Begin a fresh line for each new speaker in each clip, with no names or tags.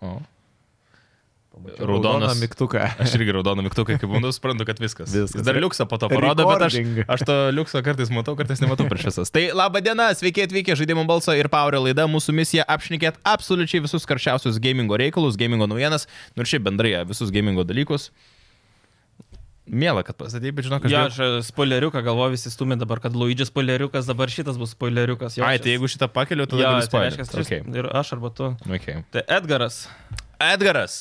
O.
Pamačiau
Raudonas.
raudoną mygtuką.
Aš irgi raudoną mygtuką, kaip bandau, suprantu, kad viskas.
Viskas.
Jis Dar liuksą po to parodo, bet aš,
Recording.
aš to liuksą kartais matau, kartais nematau prieš visas. Tai laba diena, sveiki atvykę žaidimų balso ir Power laida. Mūsų misija apšnekėt absoliučiai visus karščiausius gamingo reikalus, gamingo naujienas, nors šiaip bendrai visus gamingo dalykus. Mėla, kad pastatėjai, bet žinok, kad...
Ja, aš spoileriuką galvoju, visi stumė dabar, kad Luidžio spoileriukas, dabar šitas bus spoileriukas.
Ai, tai jeigu šitą pakeliu, tada
ja,
ja,
tai
galiu
reiškias, okay.
spaudžiu.
ir aš arba tu.
Okay. Okay.
Tai Edgaras.
Edgaras,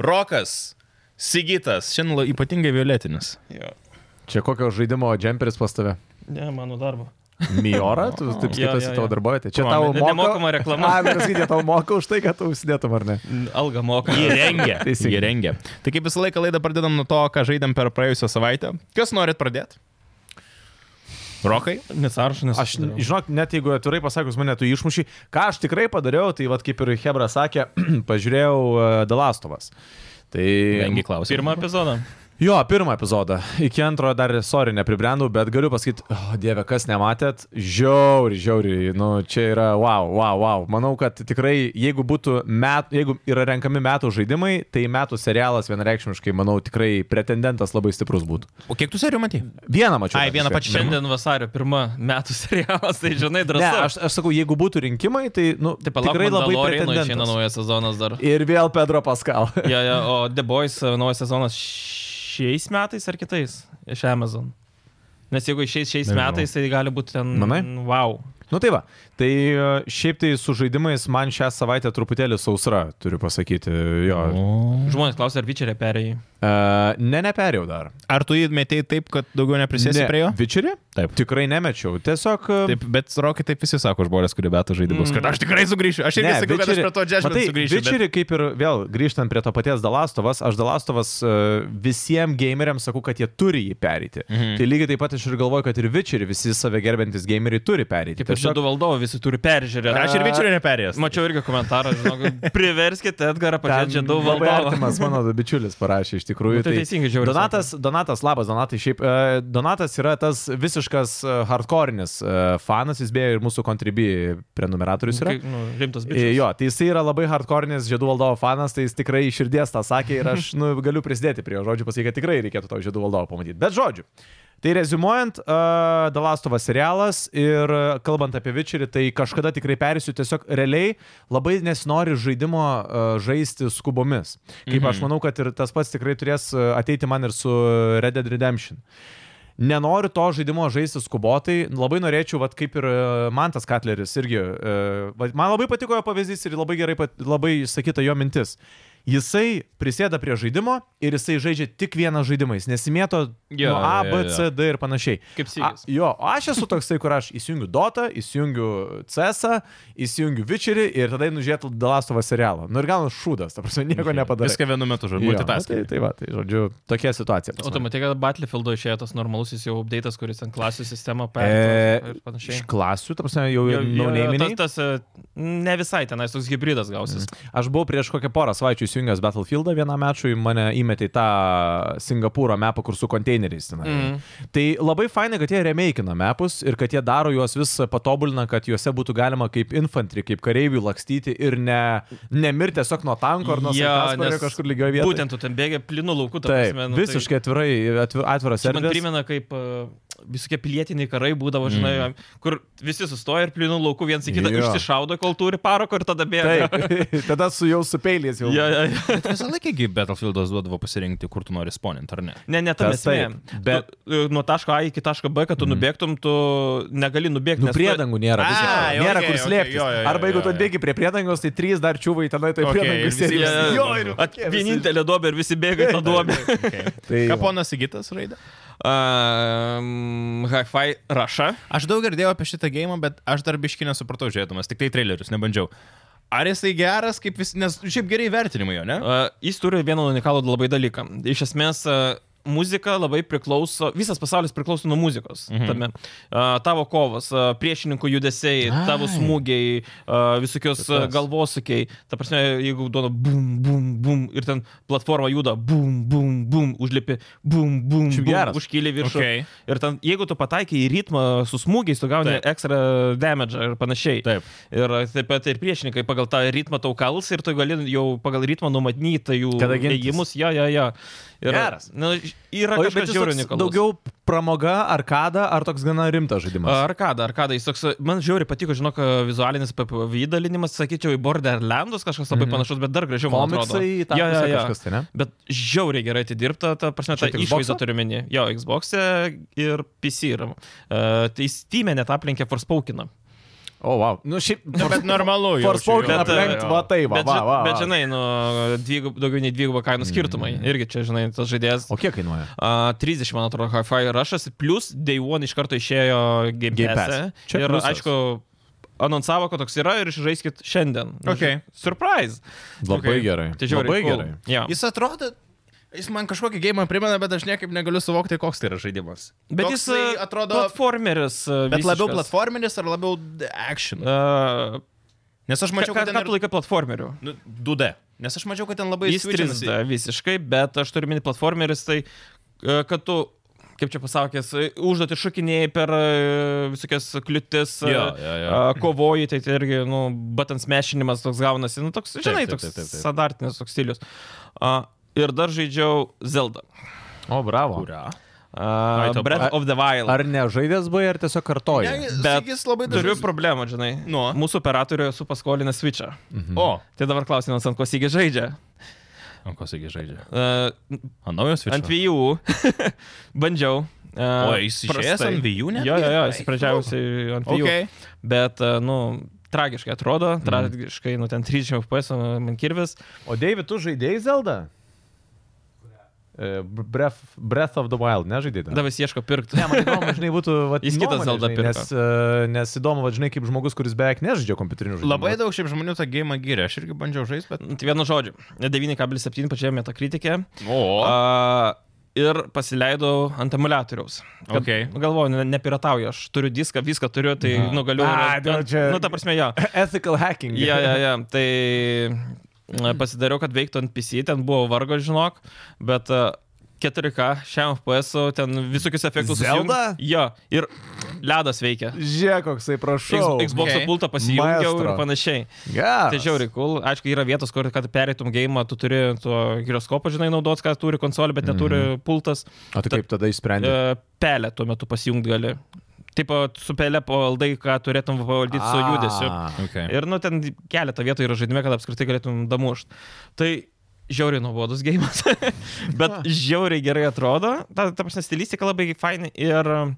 Rokas, Sigitas, šiandien la- ypatingai violetinis.
Ja.
Čia kokio žaidimo džemperis pas tave?
Ne, mano darbo.
Miora, tu taip
Jo,
skaitosi
jo,
tavo
jo.
darbovietė. Čia
Tuo,
tavo
ne-
moka.
nemokama reklama.
A, bet sakyti, tau moka už tai, kad tu užsidėtum ar ne.
Alga moka.
Jie rengia.
Teisingai.
Jie rengia. Tai kaip visą laiką laidą pradedam nuo to, ką žaidėm per praėjusią savaitę. Kas norit pradėti? Rokai?
Nesaršinės.
Aš, žinok, net jeigu atvirai pasakus mane tu išmušį, ką aš tikrai padariau, tai vad kaip ir Hebra sakė, pažiūrėjau e, Dalastovas. Tai...
Rengi klausimą.
Pirmą epizodą.
Jo, pirmą epizodą. Iki antrojo dar, sorry, nepribrendau, bet galiu pasakyti, oh, dieve, kas nematėt, žiauri, žiauri, nu čia yra, wow, wow, wow. Manau, kad tikrai, jeigu būtų, met, jeigu yra renkami metų žaidimai, tai metų serialas vienareikšmiškai, manau, tikrai pretendentas labai stiprus būtų.
O kiek tu serijų matai?
Vieną mačiau.
Ai,
dar
vieną
kažkaip.
pačią.
Šiandien vasario pirmą metų serialas, tai žinai,
Ne,
drąsa.
aš, aš sakau, jeigu būtų rinkimai, tai, nu,
tai
tai
palauk,
tikrai labai
Mandaloriano išeina
pretendentas.
naujas sezonas dar.
Ir vėl Pedro Pascal.
Ja, ja, o The Boys e, naujas sezonas šiais metais ar kitais iš Amazon. Nes jeigu išeis šiais
Nežinau.
metais, tai gali būti ten...
Manai?
Wow.
Nu tai va, tai e, šiaip tai su žaidimais man šią savaitę truputėlį sausra, turiu pasakyti. Jo.
Žmonės klausia, ar Vičerė perėjai.
Uh, ne, neperėjau dar.
Ar tu jį metėjai taip, kad daugiau neprisėsi
Ne.
prie jo?
Vičerį?
Taip.
Tikrai nemečiau. Tiesiog.
Taip, bet Rokai taip visi sako žmonės, kurie betų
Mm.
žaidimus, kad aš tikrai sugrįšiu. Aš irgi sakiau, kad aš prie to džesmės sugrįšiu. bet-
Vičerį, kaip ir vėl grįžtant prie to paties Dalastovas, aš Dalastovas uh, visiems gameriams sakau, kad jie turi jį perėti. Mhm. Tai lygiai taip pat aš ir galvoju, kad ir Vičerį visi save gerbiantis gameriai turi perėti.
Kaip ir šitų valdovų visi turi peržiūrėti.
Aš ir Vičerio neperėjęs.
Mačiau irgi komentarą, žinau, priverskite Edgarą pažiūrėti daug valdovą.
Valdomas mano bičiulis parašė iš tikrųjų.
Nu, tai teisingai, žiauriai
Donatas, Donatas, labas, Donatai. Šiaip, e, Donatas yra tas visiškas e, hardcore'nis e, fanas, jis beje ir mūsų kontribį prenumeratorius yra.
Kaip, nu, rimtas
E,
bičiulis.
Jo, tai jis yra labai hardcore'nis žiedų valdovo fanas, tai jis tikrai iš širdies tą sakė ir aš nu, galiu prisidėti prie jo žodžių, pasakyti, kad tikrai reikėtų to žiedų valdovo pamatyti. Bet žodžiu. Tai rezumuojant, uh, Dalastovas serialas ir e, kalbant apie Vičerį, tai kažkada tikrai perėsiu, tiesiog realiai labai nesinori žaidimo uh, žaisti skubomis. Kaip aš manau, kad ir tas pats tikrai turės e, ateiti man ir su Red Dead Redemption. Nenoriu to žaidimo žaisti skubotai, labai norėčiau, vat, kaip ir e, Mantas Katleris irgi, e, vat, man labai patiko jo pavyzdys ir labai gerai, pat- labai išsakyta jo mintis. Jisai prisėda prie žaidimo ir jisai žaidžia tik vieną žaidimą, jis nesimėto
Jo,
jo, nuo A,
jo,
B,
jo.
C, D ir panašiai.
Kaip
A,
sygis.
jo, o aš esu toksai, kur aš įsijungiu Dota, įsijungiu CS, įsijungiu Vičerį ir tada nužiūrėtų Dalastovą serialą. Nu ir gal šūdas, ta prasme, nieko nepadarau.
Viską vienu metu žaidžiu.
Tai,
Mhm. Multitasking.
tai va, tai žodžiu, tokia situacija. pas
O tu
mane.
matai, kad Battlefieldo išėjo tas normalusis jau update'as, kuris ant klasių sistemą perėjo
E,
ir panašiai.
Iš klasių, tarsi jau
Jo, jo, jo,
naunėminiai.
tas, tas e, ne visai tenais toks hybridas gausis.
Aš buvau prieš kokią porą savaičių įsijungęs Battlefieldą vienam mečui, mane įmetė į tą Singapūro mapą, kur su konteineriais ten. Mm.
Mhm.
Tai labai fainai, kad jie remakeina mapus ir kad jie daro juos vis patobulina, kad juose būtų galima kaip infantry, kaip kareivių lakstyti ir ne, nemirti tiesiog nuo tanko ar nuo
Jo,
sraigtasparnio
nes
kažkur lygioje vietoje.
Būtent tu ten bėgi plinu lauku, ta
Taip,
prasme, nu,
visiškai atvirai, atvi- atviras
Tai, man
erdvės.
primena, kaip e, visokie pilietiniai karai būdavo, žinai, kur visi sustoja ir plinu lauku, viens į kitą
Mm. Jo.
išsišaudo, kol turi parako ir tada bėga.
Taip, tada su jau su peiliais jau.
Jo, jo, jo.
Visą laikį Battlefieldas duodavo pasirinkti, kur tu nori sponinti, ar ne?
Ne, ne tam
Tas
esmė.
taip, bet-
Bet tu, e, nuo taško A iki taško B, kad tu mm. nubėgtum, tu negali nubėgti.
Nu, priedangų nėra.
A,
visiškai.
jo,
nėra
okei,
kur
okei,
slėptis.
jo, jo, jo,
Arba jeigu
jo,
tu
jo.
atbėgi prie priedangos, tai trys dar čiūvai tenai, tai
Okei, ir
priedangų
visi-
sėdi.
jo,
Jo,
jo,
ir nu,
At,
kokie visi-
vienintelė duobė ir visi bėga į tą duobę.
Okay.
Tai
Ką
va.
ponas Sigitas raidė?
um, Hi-Fi raša.
Aš daug girdėjau apie šitą gėjimą, bet aš dar biški nesupratau žiūrėdamas, tik tai trailerius nebandžiau. Ar jisai geras, kaip vis, nes šiaip gerai vertinimai jo, ne?
Uh, jis turi vieną unikalų labai dalyką. Iš esmės, uh, muzika labai priklauso, visas pasaulis priklauso nuo muzikos. Mhm. Tame. Uh, tavo kovos, uh, priešininkų judesiai, Ai. tavo smūgiai, uh, visokios uh, galvosukiai. Ta prasme, jeigu duoda bum, bum, bum ir ten platforma juda bum, bum, bum, užlipi, bum, bum,
Šiaip
bum
geras.
užkyli viršų.
Okei.
Ir ten, jeigu tu pataikai į ritmą su smūgiais, tu gauni
Taip.
ekstra damage ir panašiai.
Taip.
Ir taip pat ir priešininkai pagal tą ritmą tau kals ir tu gali jau pagal ritmą numatyti jų
Kada gintis.
ėjimus. Ja, ja, ja. Ir,
Geras.
Nu, yra
O jis
kažkas žiauriai
toks
unikalus.
daugiau pramoga, arkada, ar toks gana rimtas žaidimas?
Arkada, arkada, jis toks, man žiauriai patiko, žinok, vizualinis pavydalinimas, sakyčiau, į Borderlandus kažkas labai panašus, bet dar gražiau man
Mhm.
atrodo.
Komiksai, tam
Jo, jo,
ja,
jo.
ja. kažkas tai, ne?
Bet žiauriai gerai atidirbta, ta prasme, ta
Čia tik
išvaizda
Xbox'o?
turiu menį. Jo, Xbox ir PC yra. Uh, tai Steam'e net aplenkė Forspokiną.
O, oh, wow. Nu, šiaip,
Nu, bet normalu. jaučiu,
Forspoken
jo.
Bet,
aplenkt,
Jo.
va tai, va,
Bet,
va,
ži-
va.
bet žinai, nu, dvigub, daugiau nei dvigubo kainų skirtumai. Irgi čia, žinai, tas žaidėjas.
Mm. O kiek kainuoja?
Uh, 30, man atrodo, Hi-Fi Rushas, plus Day One iš karto išėjo Game
Game
Pass.
Pass.
E.
Čia
Ir,
pliusas.
aišku, anonsavo, kad toks yra ir žaiskit šiandien. Nu,
Okei.
ži- Surprise.
Labai
Okei.
gerai.
Tai žiauriai.
Labai
cool.
gerai.
Jo.
Jis atrodo, jis man kažkokį gėjimą primena, bet aš niekaip negaliu suvokti, koks tai yra žaidimas.
Bet
Toks
jis
tai
e,
atrodo...
platformeris. e,
Bet labiau
visiškas.
platforminis ar labiau d- action?
Uh,
Nes aš mačiau,
ką,
kad
ką tu
ten... Ir,
laikai platformeriu?
nu, 2D. Nes aš mačiau, kad ten labai
Jis
switchinasi.
3D visiškai, bet aš turiu minį platformeris, tai e, kad tu, kaip čia pasakęs, užduoti šokinėjai per e, visokias kliūtis, e,
Jo, jo, jo.
e, kovoji, tai, tai irgi, nu, button smashinimas toks gaunasi, nu, toks, žinai,
taip,
toks
taip, taip, taip.
standartinis toks stilius. A, Ir dar žaidžiau Zelda.
O, bravo.
Kurią? Ai,
Uh,
tau
Breath
pa-
of the Wild.
Ar ne žaidės buvai, ar tiesiog
Ne,
kartoji?
jis,
Bet
jis labai
Turiu
dažnai...
problemą, žinai.
Nu.
Mūsų operatoriui esu paskolinęs Switch'ą.
O,
Tai dabar klausimas, ant ko jisgi žaidžia.
ant ko sakai žaidžia?
Uh,
Ant naujos
Ant VU. Bandžiau.
O, jis išėjęs ant VU net?
Jo, jo, jo,
Ai, nu.
jis pradžiausiai ant VU.
Okay.
Bet, e, nu, tragiškai atrodo,
Mhm.
tragiškai, nu, ten 30 FPS o man kirvis.
O, David, tu žaidėjai Zelda? E, Breath, Breath of the Wild, nežaidėjai? dar?
Tada vis ieško pirkti.
Ne, man įdomu, žinai, būtų... Vat,
Jis kitą
nuomonė,
Zeldą
žinai,
pirko.
Nes, e, nes įdomu, vat, žinai, kaip žmogus, kuris beveik nežaidžia kompiuterinių žaidimų.
Labai daug šiaip žmonių tą gėjimą gyrė. Aš irgi bandžiau žaisti, bet...
Tai vienu žodžiu, 9,7 pačioje metakritikė.
O,
A, ir pasileidau ant emulatoriaus. Kad,
Okei.
Galvoju, ne- nepiratauju, aš turiu diską, viską turiu, tai
Mhm.
Jo.
nugaliu.
A, dėl čia-
Nu, ta prasme, jo.
Ethical hacking.
Ja, ja, ja. Tai e, pasidariau, kad veiktų ant PC, ten buvo vargo, žinok, bet e, 4K, šiam FPS, u, ten visokius efektus.
Zelda?
susijung- Jo, ir ledas veikia.
Žiūrėk, koksai, prašau.
X- Xbox
Okay.
okay. pultą pasijungiau
Maestro.
ir panašiai.
Geras.
Tai žiauri, cool. Aišku, yra vietos, kur, kad pereitum gėjimą, tu turi to gyroskopą, žinai, naudotis, ką turi konsolė, bet neturi
Mhm.
pultas.
O tai kaip tada išsprendė?
E, Pelę tuo metu pasijungti gali. Taip, o, su pelė pavaldai, ką turėtum pavaldyti su judesiu.
okay.
Ir nu ten keletą vietų yra žaidime, kad apskritai galėtum damušt. Tai žiauriai nuobodus gėjimas, bet žiauriai gerai atrodo. Ta, ta prasme, stilistika labai fainai ir um,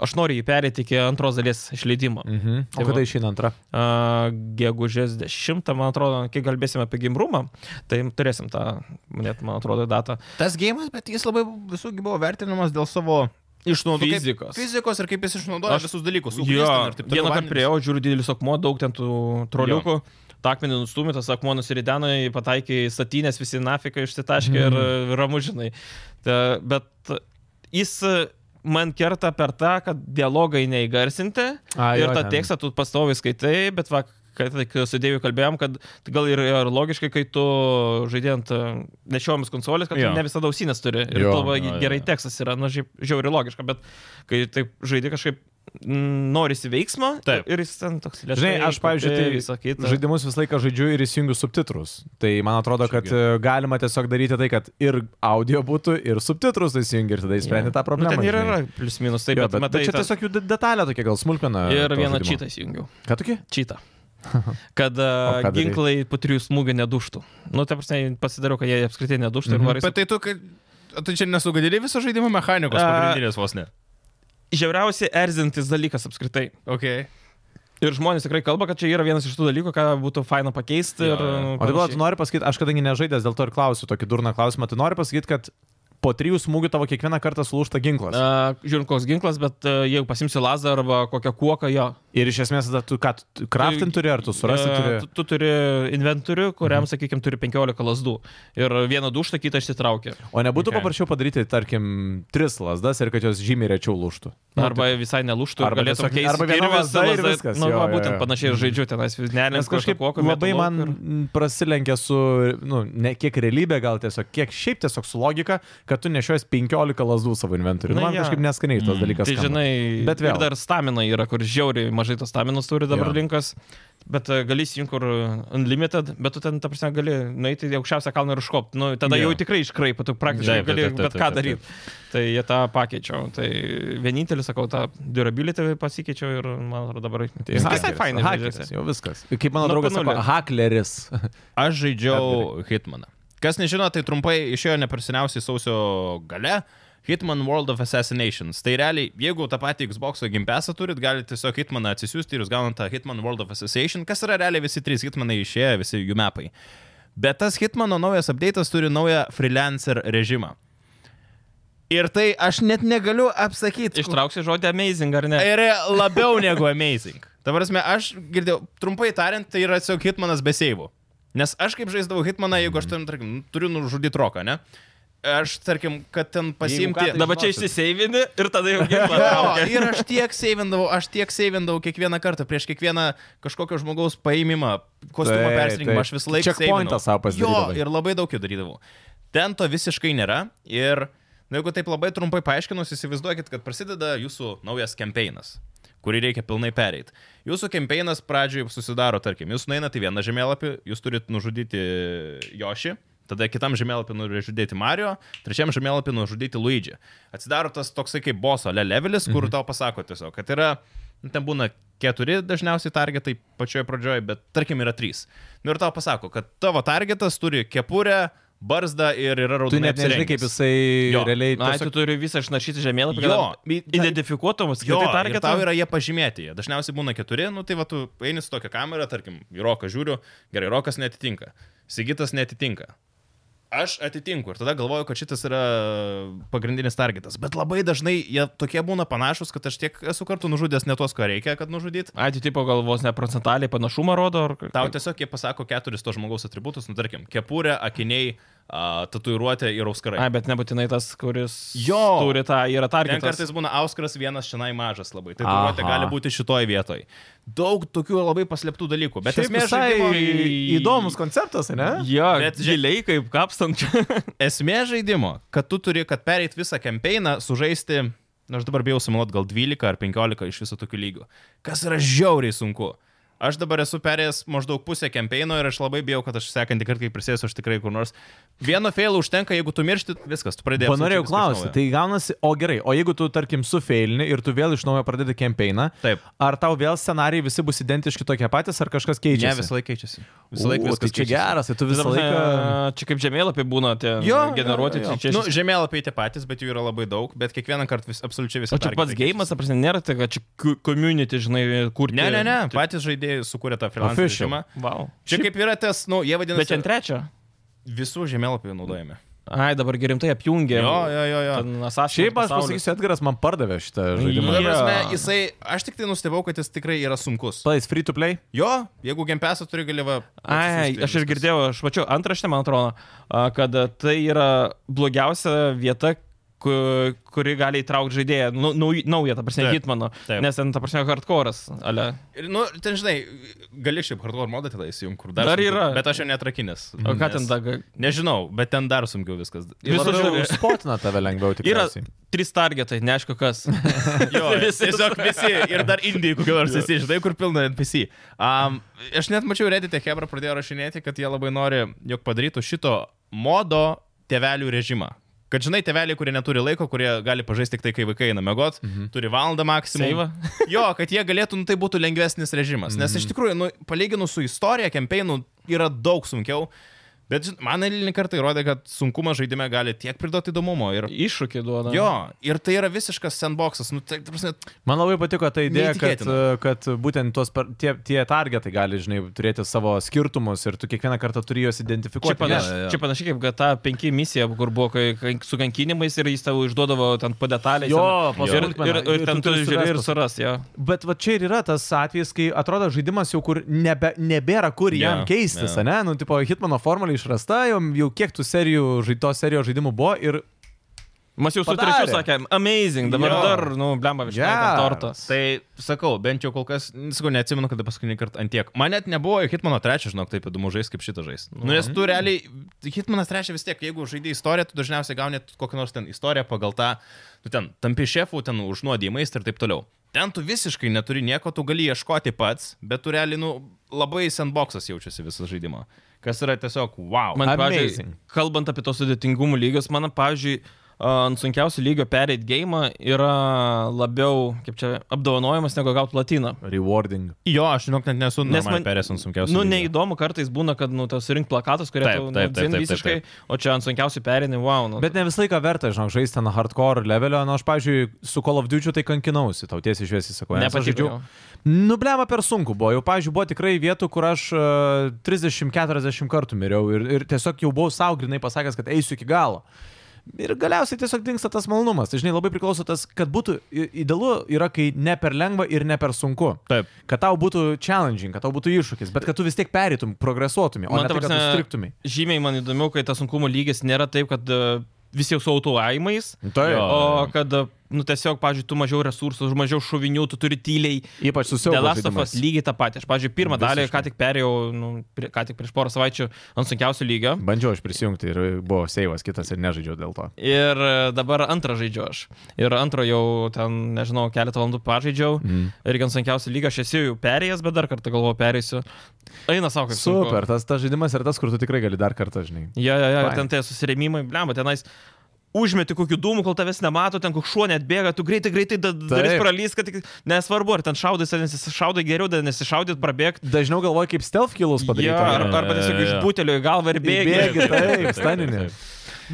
aš noriu jį perėti iki antros dalies išleidimo.
Mhm.
Tai
O
va.
kada išeina antra?
Uh, gegužės 10, man atrodo, kai kalbėsime apie gimrumą, tai turėsim tą, net, man atrodo, datą.
Tas gėjimas, bet jis labai visų gi buvo vertinamas dėl savo išnaudojimo.
Fizikos.
Fizikos ir kaip jis išnaudoja
Aš-
visus dalykus. ugnis
Jo,
ten ir taip toliau,
vieną kartą
vandenis.
priejau, žiūriu didelis akmuo, daug ten tų troliukų. Takmenį nustumė, tas akmuo nusirideno, jį pataikė į statinės, visi nafiką išsitaškė mm.
Mhm.
ir ramužinai. Ta, bet jis e, man kerta per tą, kad dialogai neįgarsinti
A,
ir
jo,
tą
ten.
tekstą tu pastovi skaitai, bet va, kad su Dievu kalbėjom, kad gal ir, ir logiškai, kai tu žaidėjant nešiojamas konsolės, kad
Jo.
tu ne visada ausinės turi ir
Jo,
tavo
jo, jo.
gerai tekstas yra, na, nu, žiauri logiška, bet kai taip žaidži kažkaip mm, norisi veiksmo
Taip.
ir jis ten toks lėtas.
Žinai, aš, pavyzdžiui,
visą
tai
kitą.
žaidimus visą laiką žaidžiu ir įsijungiu subtitrus. Tai man atrodo, kad e, galima tiesiog daryti tai, kad ir audio būtų, ir subtitrus įsijungi ir tada išsprendė tą problemą.
Nu, ten ir
žinai.
yra plius minus, taip,
Jo,
bet,
bet, bet čia
ten-
tiesiog jų de- detalė tokia gal smulkmena.
Ir
to
vieną
žaidimo.
čitą įsijungiau.
Ką tokį?
Čitą. Kad a,
O ką darei?
ginklai po trijų smūgių neduštų. Nu, ta prasme, pasidariau, kad jie apskritai neduštų
Mhm.
ir norisi.
Bet tai tu, kad... Tu čia nesugadėlė viso žaidimo mechanikos
A-
pagrindinės vos ne.
Žiauriausiai erzintis dalykas apskritai.
Okay.
Ir žmonės tikrai kalba, kad čia yra vienas iš tų dalykų, ką būtų faina pakeisti.
Jo,
ir,
jo.
nu,
O tai dabar
panašiai.
tu nori pasakyti, aš kadangi nežaidęs, dėl to ir klausiu tokį durną klausimą, tu nori pasakyti, kad po trijų smūgių tavo kiekvieną kartą sulūšta ginklas.
Uh, Žiūrint, koks ginklas, bet uh, jeigu pasimsiu lazą arba kokią kuoką, jo.
Ir iš esmės tada tu ką, tu craftin turi ar tu surasti
E,
turi?
Tu, tu turi inventorių, kuriam, mhm. sakykime, turi 15 lasdų. Ir vieną duštą, kitą išsitraukia.
O nebūtų
Okay.
paprasčiau padaryti, tarkim, tris lasdas ir kad jos žymiai rečiau lūštų.
Arba visai
Nu,
nelūštų,
tai- arba
arba galėtum
tiesiog-
keisti.
arba viena
kirvis,
lazda ir
lazda-
viskas,
Nu,
jo,
va,
jo,
būtent
jo.
panašiai ir žaidžiu tenais,
tai Nes
nelinkas
kažkaip labai man m, prasilenkia su, nu, ne kiek realybė, gal tiesiog, kiek šiaip tiesiog su logika, kad tu nešiojas 15 lasdų savo inventorių. Nu,
Na,
man
jo.
kažkaip neskaniai tas dalykas.
Tai
skamba.
žinai,
Bet
bet vėl.
vėl.
Ir dar stamina yra, kur žiauriai mažai tos staminus turi dabar
Jo.
jo. linkas. Bet e, gali įsijungti, kur e, unlimited, bet tu ten, ta prasme, gali nueiti į aukščiausią kalną ir užkopti. Nu, tada
Jo.
jau tikrai iškraipai, tu praktiškai
Taip, taip,
gali
taip, taip,
bet ką
taip, taip.
daryti. Tai jie tą pakeičiau. Tai vienintelis, sakau, tą durability pasikeičiau ir, man atrodo, dabar...
Tai
Visai
hakeris,
fainai žaidžiasi.
Hakeris, jau viskas. Kaip mano
Nuo
draugas
panulio.
sako, hakleris.
Aš žaidžiau Hitmaną. Kas nežino, tai trumpai išėjo neperseniausiai sausio gale. Hitman World of Assassinations. Tai realiai, jeigu tą patį Xbox gimpesą turit, galite tiesiog Hitmaną atsisiųsti ir jūs gaunate Hitman World of Assassination, kas yra realiai visi trys Hitmanai išėję, visi jų mepai. Bet tas Hitmano naujas update'as turi naują freelancer režimą. Ir tai aš net negaliu apsakyti.
Ištrauksi žodį amazing, ar ne?
Ir Tai labiau negu amazing. Ta prasme, aš girdėjau, trumpai tariant, tai yra tiesiog Hitmanas be seivų. Nes aš kaip žaisdavau Hitmaną, jeigu aš
Mm.
ten, tarkim, nu, turiu nužudyti roką, ne? Aš, tarkim, kad ten
ką,
pasiimti...
tai
Dabar čia
žinosit.
išsiseivini ir tada jau
Jo,
gimta.
ir aš tiek seivindavau, aš tiek seivindavau kiekvieną kartą, prieš kiekvieną kažkokio žmogaus paėmimą, kostiumo
Taip,
persirinkimą,
taip.
aš visą laiką...
Checkpointą
seivinau.
sau pasidarydavai.
Jo, ir labai daug jų darydavau. Ten to visiškai nėra ir, na, jeigu taip labai trumpai paaiškinus, įsivaizduokit, kad prasideda jūsų naujas kampeinas kurį reikia pilnai pereiti. Jūsų kampeinas pradžioje susidaro, tarkim, jūs nueinate į vieną žemėlapį, jūs turit nužudyti Jošį, tada kitam žemėlapį nužudyti Mario, trečiam žemėlapį nužudyti Luigi. Atsidaro tas toksai kaip boso le levelis, kur mhm. tau pasako tiesiog, kad yra, nu, ten būna keturi dažniausiai targetai pačioje pradžioje, bet tarkim yra trys. Nu ir tau pasako, kad tavo targetas turi kepurę, barzdą ir yra
Tu
raudona.
net nežinai, kaip jisai
Jo.
realiai...
Na,
tiesiog-
Nu, tu turi visą išnaršyti žemėlapį,
Tai Jo,
kad identifikuotumas,
tai- Jo,
kad
tai
tai targetą
tau yra jie pažymėti, jie dažniausiai būna keturi, nu tai va tu eini su tokia kamera, tarkim, į roką žiūriu, gerai, rokas netitinka, sigitas netitinka. Aš atitinku ir tada galvoju, kad šitas yra pagrindinis targetas, bet labai dažnai jie tokie būna panašus, kad aš tiek esu kartų nužudęs ne tos, ko reikia, kad nužudyt.
Atitipo galvos ne procentaliai panašumą rodo, ar
Tau tiesiog jie pasako keturis to žmogaus atributus, nu tarkim, kepurė, akiniai, a, tatuiruotė ir auskarai.
Ai, bet nebūtinai tas, kuris
Jo.
turi tą, yra
Ten
targetas.
kartais būna auskaras vienas šiandien mažas labai. Tai
Aha.
turiuotė gali būti šitoj vietoj. Daug tokių labai paslėptų dalykų. Bet
Šiaip
esmė
visai
žaidimo,
įdomus konceptas, ne?
Jo,
Bet
bet
ži-
giliai kaip kapstant.
esmė žaidimo, kad tu turi, kad pereit visą kampeiną, sužaisti, na aš dabar bijau sumiluot gal 12 ar 15 iš viso tokių lygių. Kas yra žiauriai sunku. Aš dabar esu perėjęs maždaug pusę kampeino ir aš labai bijau, kad aš sekantį kartą, kai prisėsiu, aš tikrai kur nors. Vieno failo užtenka, jeigu tu miršti, viskas, tu pradėjai.
Ko norėjau klausti, tai gaunasi, o gerai, o jeigu tu, tarkim, sufeilini ir tu vėl iš naujo pradedi kampeiną,
Taip.
ar tau vėl scenarijai visi bus identiški tokie patys, ar kažkas
Ne,
tai keičiasi?
visą laiką keičiasi. Visą laiką
O,
viskas
tai čia
keičiasi.
geras, tai tu visą
Ta prasme,
laiką...
Čia kaip žemėlapį būna tie generuoti. tai čia
Nu,
šis-
žemėlapiai tie patys, bet jų yra labai daug, bet kiekvieną kartą vis, absoliučiai visi.
O čia pats gėjimas, apras, nėra tai, kad čia ku- community, žinai, kurti. tai-
Ne, ne, ne, patys žaidėjai sukūrė tą freelance
Official.
režimą.
Wow.
Čia kaip yra tas, nu, jie vadinasi.
Bet čia ant trečio.
Visų žemėlapių naudojame.
Ai, dabar gerimtai apjungė.
Jo, jo, jo, jo.
Šiaip aš pasakysiu, Edgaras man pardavė šitą žaidimą.
Ta
Jo.
Prasme, jisai, aš tik tai nustebau, kad jis tikrai yra sunkus.
Tai jis free to play?
Jo, jeigu gempesą turi galima.
Ai, aš ir girdėjau, aš mačiau antraštę, man atrodo, a, kad a, tai yra blogiausia vieta, ku- kuri gali įtraukti žaidėją. Nu, nauj- naują, ta prasme,
Taip,
hitmano.
taip.
Nes ten, ta prasme, hardcore'as. Ale.
Nu, ten žinai, gali šiaip hardcore modą tada įsijungti, kur dar.
Dar
sunkiau,
yra.
Bet aš jau netrakinęs.
O ką ten daga?
Nežinau, bet ten dar sunkiau viskas.
Visos
Labiau-
žaidėjos.
Spotina tave lengviau
Yra
tikriausiai.
trys targetai, neaišku kas.
Jo,
Visi.
tiesiog visi. Ir dar Indijai, kokie nors visi, žinai, kur pilna NPC. Um, aš net mačiau Reddit'e, Hebra pradėjo rašinėti, kad jie labai nori, jog padarytų šito modo tevelių režimą. Kad žinai, teveliai, kurie neturi laiko, kurie gali pažaisti tik tai, kai vaikai eina mėgot, mhm. turi valandą maksimum.
Seivą.
Jo, kad jie galėtų, nu, tai būtų Mhm. lengvesnis režimas. Nes iš tikrųjų, nu, palyginus su istorija, kampeinų yra daug sunkiau. Bet žin- man eilinį kartą įrodė, kad sunkumas žaidime gali tiek priduoti įdomumo. Ir,
Iššūkį duoda.
jo, ir tai yra visiškas sandboxas. Nu, tai, ta prasme,
Man labai patiko ta idėja, kad,
Neįtikėtina.
e, kad būtent tuos, par- tie, tie targetai gali, žinai, turėti savo skirtumus ir tu kiekvieną kartą turi juos
Čia,
identifikuoti.
panaš,
Jo, jo, jo.
čia panašiai kaip GTA 5 misija, kur buvo kai, kai, su kankinimais ir jis tavo išduodavo ten padetalės.
Jo, po
ir, ir,
smulkmeną.
ir, ir
Ir
ten
tu
tu
turi
žiūri
surast
ir suras, jo.
Bet va čia ir yra tas atvejis, kai atrodo žaidimas jau kur nebe, nebėra kur
Jo,
jam keistis,
jo.
ne? Nu, tipo, Hitmano formulė išrasta, jau, jau kiek tų serijų, žaitos serijos žaidimų buvo ir...
Mes jau su
Padarė.
trečiu sakėm, amazing, dabar
Jo.
jo. dar, nu, blemba, višnia
Geras.
tortas.
Tai sakau, bent jau kol kas, n- sakau, neatsimenu, kada paskutinį kartą ant tiek. Man net nebuvo Hitmano 3, žinok, taip įdomu žaisti kaip šitą žaisti. Nu, nes tu realiai, Hitmanas 3 vis tiek, jeigu žaidai istoriją, tu dažniausiai gauni kokią nors ten istoriją pagal tą, tu ten tampi šefų, ten užnuodymais ir taip toliau. Ten tu visiškai neturi nieko, tu gali ieškoti pats, bet tu realiai, nu, labai sandboxas jaučiasi visą žaidimą. Kas yra tiesiog wow.
Man, pavyzdžiui,
Amazing.
kalbant apie tos sudėtingumų lygius, man, pavyzdžiui, ant sunkiausio lygio pereit game yra labiau, kaip čia, apdovanojimas negu gauti platiną.
Rewarding.
Jo, aš žinok, net nesu,
Nes
nes man
man-
perės ant sunkiausių.
Nu, neįdomu, kartais būna, kad, nu, tas rink plakatas, kurie
Taip,
tau nu,
taip, taip,
dzin
taip, taip,
visiškai, o čia ant sunkiausių perinį, wow. Nu,
Bet ne visą laiką verta, žinau, žaisti ten hardcore levelio. Na, aš, pavyzdžiui, su Call of Duty tai kankinausi, tau tiesiai išviesi, sakau, nes aš
Nepatiko
žaidžiau.
jo.
Nublema per sunku buvo. Jau, pavyzdžiui, buvo tikrai vietų, kur aš 30-40 kartų miriau ir, ir tiesiog jau buvau saugrinai pasakęs, kad eisiu iki galo. Ir galiausiai tiesiog dinksta tas malonumas. Tai žinai, labai priklauso tas, kad būtų i- idealu yra, kai ne per lengva ir ne per sunku.
Taip.
Kad tau būtų challenging, kad tau būtų iššūkis, bet kad tu vis tiek pereitum, progresuotum, o
Man
ne
ta
tai, kad
prasme,
striktumai.
Žymiai man įdomiau, kai tas sunkumo lygis nėra taip, kad e, visi jau su autoaimais.
Taip.
O kad, e, nu, tiesiog, pavyzdžiui, tu mažiau resursų, mažiau šovinių, tu turi tyliai
Ypač su
The
siaubo
Last of Us
žaidimais.
lygiai tą patį. Aš, pavyzdžiui, pirmą dalį
Visiškai.
ką tik perėjau, nu, prie, ką tik prieš porą savaičių ant sunkiausio lygio.
Bandžiau aš prisijungti ir buvo seivas kitas ir nežaidžiau dėl to.
Ir e, dabar antrą žaidžiu aš. Ir antrą jau ten, nežinau, keletą valandų pažaidžiau.
Mhm.
Mm. Irgi ant sunkiausio lygio aš esu jau perėjęs, bet dar kartą galvoju, perėsiu. Eina savo, kaip sunku.
Super, tas, tas žaidimas yra tas, kur tu tikrai gali dar kartą, žinai.
Jo, jo, jo, ir
Faina.
ten tie susirėmimai, blemba, tenais. Užmeti kokių dūmų, kol tavęs nemato, ten kokiu šuo net bėga, tu greitai, greitai da- dalis
Taip.
pralys, kad tik... Nesvarbu, ar ten šaudai, ar nesišaudai geriau, dar nesišaudyt, prabėgti.
Dažniau galvoju, kaip stealth killus padaryti.
Ja,
o ne-
ar, arba tiesiog
Jo, jo,
iš
jo.
butelio į galvą ir bėgi.
Bėgi, taip,
taip,
staninė.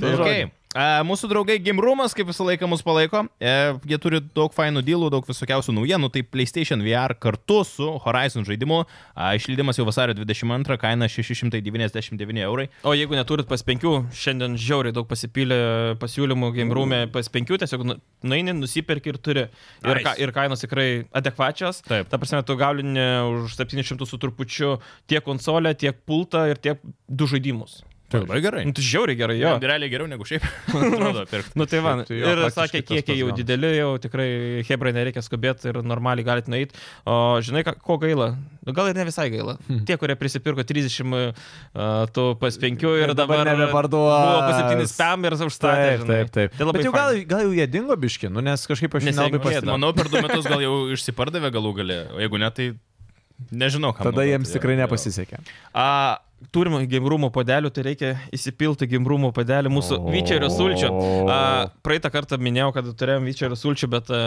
taip, Okay. A, mūsų draugai Gimrumas, kaip visą laiką, mus palaiko. E, jie turi daug fainų dylų, daug visokiausių naujienų. Tai PlayStation VR kartu su Horizon žaidimu. A, išleidimas jau vasario 22, kaina 699 eurai.
O jeigu neturit pas penkių, šiandien žiauriai daug pasipylė pasiūlymų game room'e pas penkių, tiesiog nu- nueini, nusipirki ir turi. Ir,
Nice.
ka, ir kainos tikrai adekvačios.
Taip.
Ta prasme, tu gauni už 700 su trupučiu tiek konsolę, tiek pultą ir tiek du žaidimus.
Tai labai gerai.
Nu, tai žiauriai gerai,
Jo,
jo.
realiai geriau negu šiaip. Atrodo, pirkti.
Nu tai va,
Taip, tai jo,
ir
praktiškai tas
sakė, kiekiai
pats
jau
gaunas.
dideli, jau tikrai hebrai nereikia skubėti ir normaliai galite nueiti. O žinai, ką, ko gaila? Nu, Gal ir ne visai gaila.
Hm.
Tie, kurie prisipirko 30, uh, tu pas 5 ir,
Ir
ir
dabar
dabar
nebeparduos.
Buvo pas 7 spam ir užstatė.
Taip, taip, taip.
Tai labai
Bet jau gal, gal jau jie dingo biški, nu, nes kažkaip aš jų
Nes
tai
nelabai
jeigu
pastebėjau.
Manau, per du metus gal jau išsipardavė galų galę. O jeigu ne, tai nežinau, ką.
Tada jiems tikrai nepasisekė.
A, turim gimrumo padelių, tai reikia įsipilti gimrumo padelį mūsų
O.
Vyčerio sulčių. A, praeitą kartą minėjau, kad turėjom Vyčerio sulčių, bet a,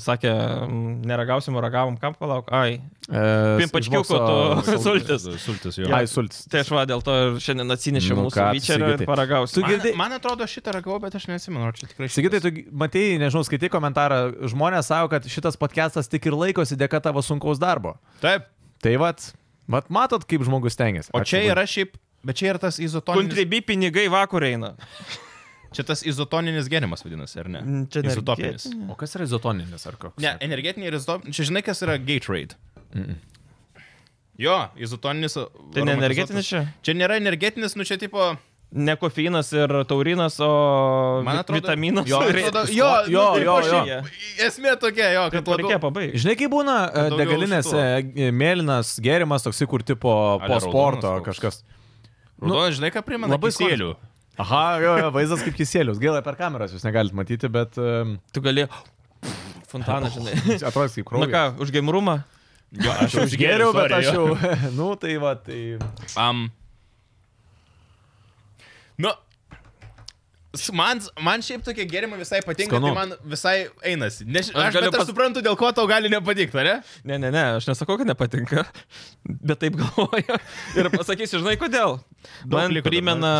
sakė, mm, neragausim, o ragavom, kam palauk. Ai, Pimpačkiuko tu sultis.
Sultis jo.
E, Ai, sultis.
Tai aš va, dėl to ir šiandien atsinešiau
Nu
nu, mūsų
ką tu,
vyčerį ir
Sigitai.
paragausiu.
Tu
Man-
girdi-
Man, man atrodo, šitą ragavau, bet aš nesimenu, ar čia tikrai. šitas.
Sakytai, tu matėjai, nežinau, skaitai komentarą, žmonės savo, kad šitas podcastas tik ir laikosi dėka tavo sunkaus darbo.
Taip.
Tai vat, vat matot, kaip žmogus tengiasi.
O čia yra šiaip. Bet čia yra tas izotoninis
Kontribi pinigai vakar eina.
Čia tas izotoninis gėrimas vadinasi, ar ne?
Mm, čia ne
Izotopinis.
energetinė.
O kas yra izotoninis ar koks?
Ne, energetiniai ir izotopiniai. Čia žinai, kas yra gate rate. Jo, izotoninis. uh,
Tai ne energetinis čia?
Čia nėra energetinis, nu čia tipo...
Ne kofeinas ir taurinas, o
Man
vit-
atrodo,
vitaminas.
Jo,
ir-
atrodo, jo,
Jo,
nu,
jo,
tipo
jo.
šiaip Esmė tokia, jo,
Taip,
kad
to reikia
labiau...
pabaigti.
Žinai, kai būna e,
Daugiau
degalinėse e, mėlynas gėrimas, toksai kur tipo
Ale
po
raudonas
sporto
koks.
kažkas.
Nu, žinai, ką primena?
labai
sėlių.
Aha, jo, jo, vaizdas kaip kisėlius. Gaila, per kameras jūs negalite matyti, bet um,
Tu gali. Fontaną, žinai.
atrodo kaip
Na
kraujas.
ką, už gaimrumą?
Jo,
Aš jau išgėriau, bet aš jau. Nu, tai va, tai.
Um. Nu. Man, man šiaip tokie gėrimai visai patinka,
Skanu.
tai man visai einasi. Nes, aš,
Aš
aš,
galiu
bet aš
pas-
suprantu, dėl ko tau gali nepatikti, ar ne?
Ne, ne, ne, aš nesakau, kad nepatinka, bet taip galvoju. Ir pasakysiu, žinai, kodėl.
Daug
Man
liko dar,
primena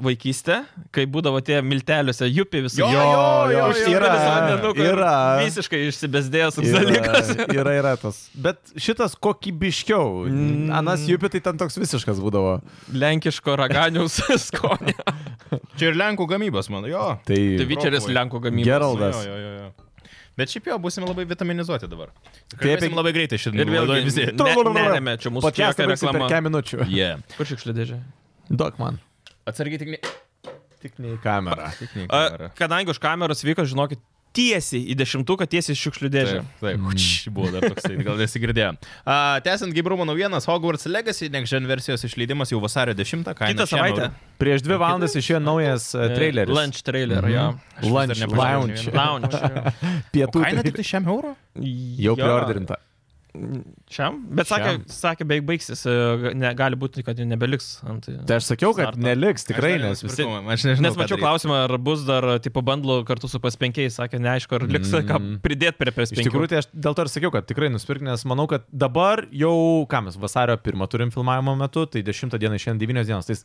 vaikystę, kai būdavo tie milteliuose, jupi visi.
Jo, jo,
už-
jo, nu,
yra, yra,
Visiškai išsibesdėjęs dalykas.
yra, yra, yra tas. Bet šitas kokybiškiau.
Mm.
Anas Jupi tai ten toks visiškas būdavo.
Lenkiško raganiaus skonio.
Čia ir Lenkų gamybos, mano, jo.
Tai
Tai Vyčeris
Propovai.
Lenkų gamyba.
Geraldas.
Jo, jo, jo, jo. Bet šiaip jo, būsime labai vitaminizuoti dabar.
Kai
Kalbėsim
apie-
labai greitai šitą
Ir vėlgi
visi.
ne- neremia čia mūsų
Podcastą
čia jokia
baigsim per
reklama.
kem minučių.
Yeah.
Kur šiukšlių dėžė?
Duok man.
Atsargiai tik ne.
Tik ne į kamerą.
Tik ne. į kamerą.
A, Kadangi už kameros vyko, žinokit, tiesiai į dešimtuką, tiesiai į šiukšlių dėžę.
Taip, taip. Huč, buvo dar toksai, gal nesigirdėjo. Uh, Tęsiant Gibrumo naujienas, Hogwarts Legacy Next Gen versijos išleidimas jau vasario 10. kaina
Kitą
šiandien
savaitę.
Prieš dvi valandas išėjo naujas e, traileris. Mhm.
Lunch trailer, jo.
Aš vis dar
Lunch,
nepažiūrėjau nei
lounge.
vieno.
Lounge.
Pietų.
Kaina tik
trailer-
tai šiam eurų?
Jau priorderinta.
Šiam? Bet sakė,
Šiam.
sakė beveik baigsis, e, ne, gali būti, kad jų nebeliks. Ant,
Tai aš sakiau, kad
Starto.
neliks, tikrai,
Aš dar
nes visi...
nenusipirkau, Aš nežinau.
Nes mačiau klausimą, ar bus dar, e, tipo, bandlo kartu su pas penkiais, sakė, neaišku, ar liks mm. ką pridėti prie pres
Iš
penkių.
tikrųjų, tai aš dėl to ir sakiau, kad tikrai nusipirk, nes manau, kad dabar jau, ką mes vasario pirmą turim filmavimo metu, tai 10 dieną, šiandien 9 dienos, tai jis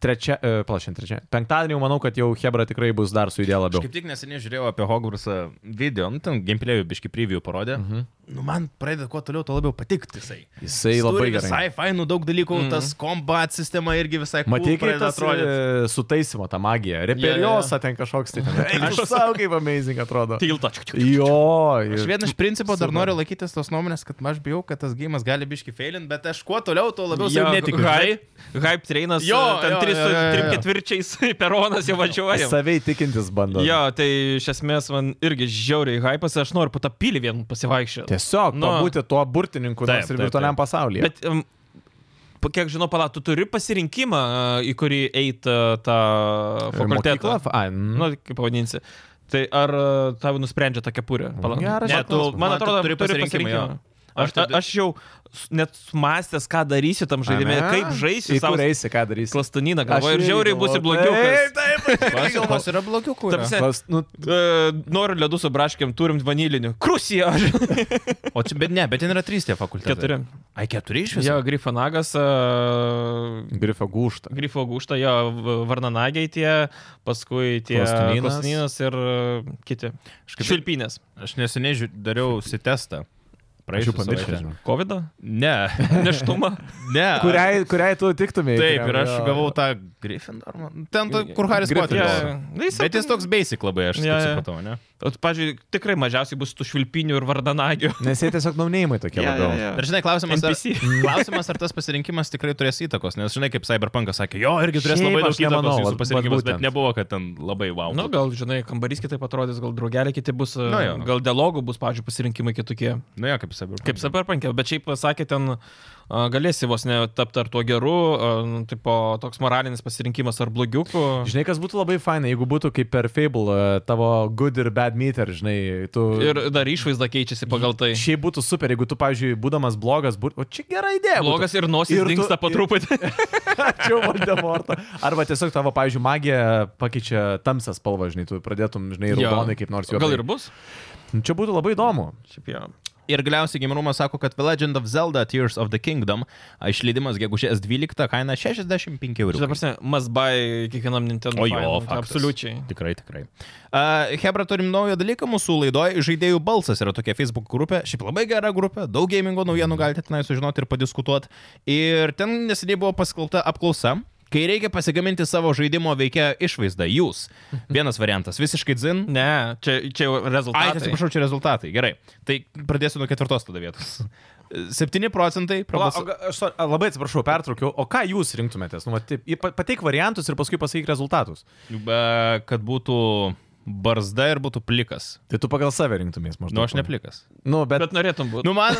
trečia, e, pala, šiandien trečia, penktadienį jau manau, kad jau Hebra tikrai bus dar su idėja
Aš
labiau.
kaip tik neseniai žiūrėjau apie Hogwartsą video, nu, ten gameplay'ų biški preview parodė. Mhm. Nu, man pradeda kuo toliau, tuo labiau patikti jisai.
Jisai
Jis
labai
turi
gerai.
Visai fainų daug dalykų, mhm. tas kombat sistema irgi visai cool
Matai, kaip
pradeda
tas e, sutaisimo tą magiją.
Jo,
Reperiosa ten kažkoks tai. Aš sau kaip amazing atrodo.
Tiltą.
Jo, ir-
Aš vienas iš principo dar
Super.
noriu laikytis tos nuomonės, kad aš bijau, kad tas gėjimas gali biški failint, bet aš kuo toliau, tuo labiau jau netikiu.
Hype, hype trainas, jo,
Jo,
ten
jo,
tris,
jo, jo, jo.
trim ketvirčiais peronas jau važiuoja.
Savai tikintis bando.
Jo, tai iš esmės man irgi žiauriai hypas, aš noriu po tą pilį vien pasivaikščioti.
Tiesiog
Nu.
būti tuo burtininku
Taip,
nors ir
taip,
virtualiam
taip.
pasaulyje.
Bet, um, pa- kiek žinau, pala, tu turi pasirinkimą, e, į kurį eit e, tą fakultetą.
Fakultetą.
Nu, kaip pavadinsi. Tai ar e, tau nusprendžia tą kepurę? Pala-
Geras
ne,
čia
tu,
klausimas.
man
Man
atrodo,
tu turi
turi pasirinkimą.
pasirinkimą, jo.
Aš,
Ar tu-
aš jau s- net mąstęs, ką darysiu tam žaidime, kaip
Į
žaisiu savo
kur eisi, ką darysi.
klastaniną,
Aš
galvoju, ir
irgi
žiauriai bus ir
galvoju,
blogiau.
Taip, taip.
Kas yra blogiukų?
Ta
Yra.
prasme, e,
Klas, nu,
Noriu ledų su braškiam, turim vanilinių. Krusija, aš.
O čia, bet ne, bet ten yra trys tie fakultetai.
Keturi.
Ai, keturi iš viso?
Jo, grifanagas, e,
Grifo gūžta.
grifo gūšta, jo, v- varnanagiai tie, paskui tie
Plastilinas.
plastininas ir e, kiti. Švilpinės.
Aš neseniai žiū- dariau sitestą.
Aš
Praėjau
jau pamiršau.
COVID?
Ne,
Neštumą.
ne.
Kuriai, kuriai tu tiktumėjai?
Taip, ir aš gavau tą Gryffindor. man- Ten, to, kur Haris
Gryffindor.
Poteris.
Jo,
Bet jis toks basic labai, aš
Jo,
yeah,
jo.
supratau, ne?
Pavyzdžiui, tikrai mažiausiai bus tų švilpinių ir vardanagių.
Nes jie tiesiog naunėjimai tokie
Jo,
labiau.
jo, jo.
Ir žinai, klausimas ar,
NPC.
klausimas, ar tas pasirinkimas tikrai turės įtakos, nes žinai, kaip Cyberpunkas sakė, jo, irgi turės
Šiaip
labai daug
aš nemanau,
įtakos
vat-
jūsų
vat
pasirinkimas,
būtent. Nu,
bet nebuvo, kad ten labai wow.
Na, Nu, gal, žinai, kambarys kitaip atrodys, gal draugeliai kiti bus, e,
Nu jo.
gal dialogų bus, pavyzdžiui, pasirinkimai kitokie.
Nu, jo, kaip Cyberpunkas.
Kaip saperpankė, bet šiaip sakė, ten a, galėsi vos netapti ar tuo geru, a, nu, tipo, toks moralinis pasirinkimas ar blogiukų.
Žinai, kas būtų labai fainai, jeigu būtų kaip per Fable e, tavo good ir bad meter, žinai, tu...
Ir dar išvaizda keičiasi pagal tai.
Šiaip būtų super, jeigu tu, pavyzdžiui, būdamas blogas, būt... o čia gera idėja. būtų.
Blogas ir nosis
Ir tu-
dinksta po
ir-
truputį.
Ačiū, Voldemortą. Arba tiesiog tavo, pavyzdžiui, magija pakeičia tamsą spalvą, žinai, tu pradėtum, žinai,
Jo.
raudonai kaip nors jau.
Gal ir bus?
Čia būtų labai įdomu.
Šiaip jau.
Ir galiausiai Gimrumas sako, kad The Legend of Zelda Tears of the Kingdom a, išleidimas gegužės 12 kaina 65
Žinai,
eurų.
prasme, must buy kiekvienam Nintendo.
O jo,
nu, tai
fanui,
faktas.
absoliučiai.
Tikrai, tikrai. Uh, Hebra turim naują dalyką mūsų laidoje. Žaidėjų balsas yra tokia Facebook grupė. Šiaip labai gera grupė. Daug gamingo naujienų galite tenai sužinoti ir padiskutuoti. Ir ten neseniai buvo paskelbta apklausa. Kai reikia pasigaminti savo žaidimo veikėjo išvaizdą, jūs. Vienas variantas, visiškai dzin.
Ne, čia, čia jau
Ai,
rezultatai.
atsiprašau, čia rezultatai. Gerai. Tai pradėsiu nuo ketvirtos tada vietos. 7 procentai
Pala,
prabalsavo.
o, ga- aš so- a, labai atsiprašau, pertraukiau. O ką jūs rinktumėtės? Nu, va, taip, į- pa- pateik variantus ir paskui pasakyk rezultatus.
Be, kad būtų barzda ir būtų plikas.
Tai tu pagal save rinktumės maždaug.
Nu, aš ne plikas.
Nu, bet,
Bet norėtum būti.
Nu, man,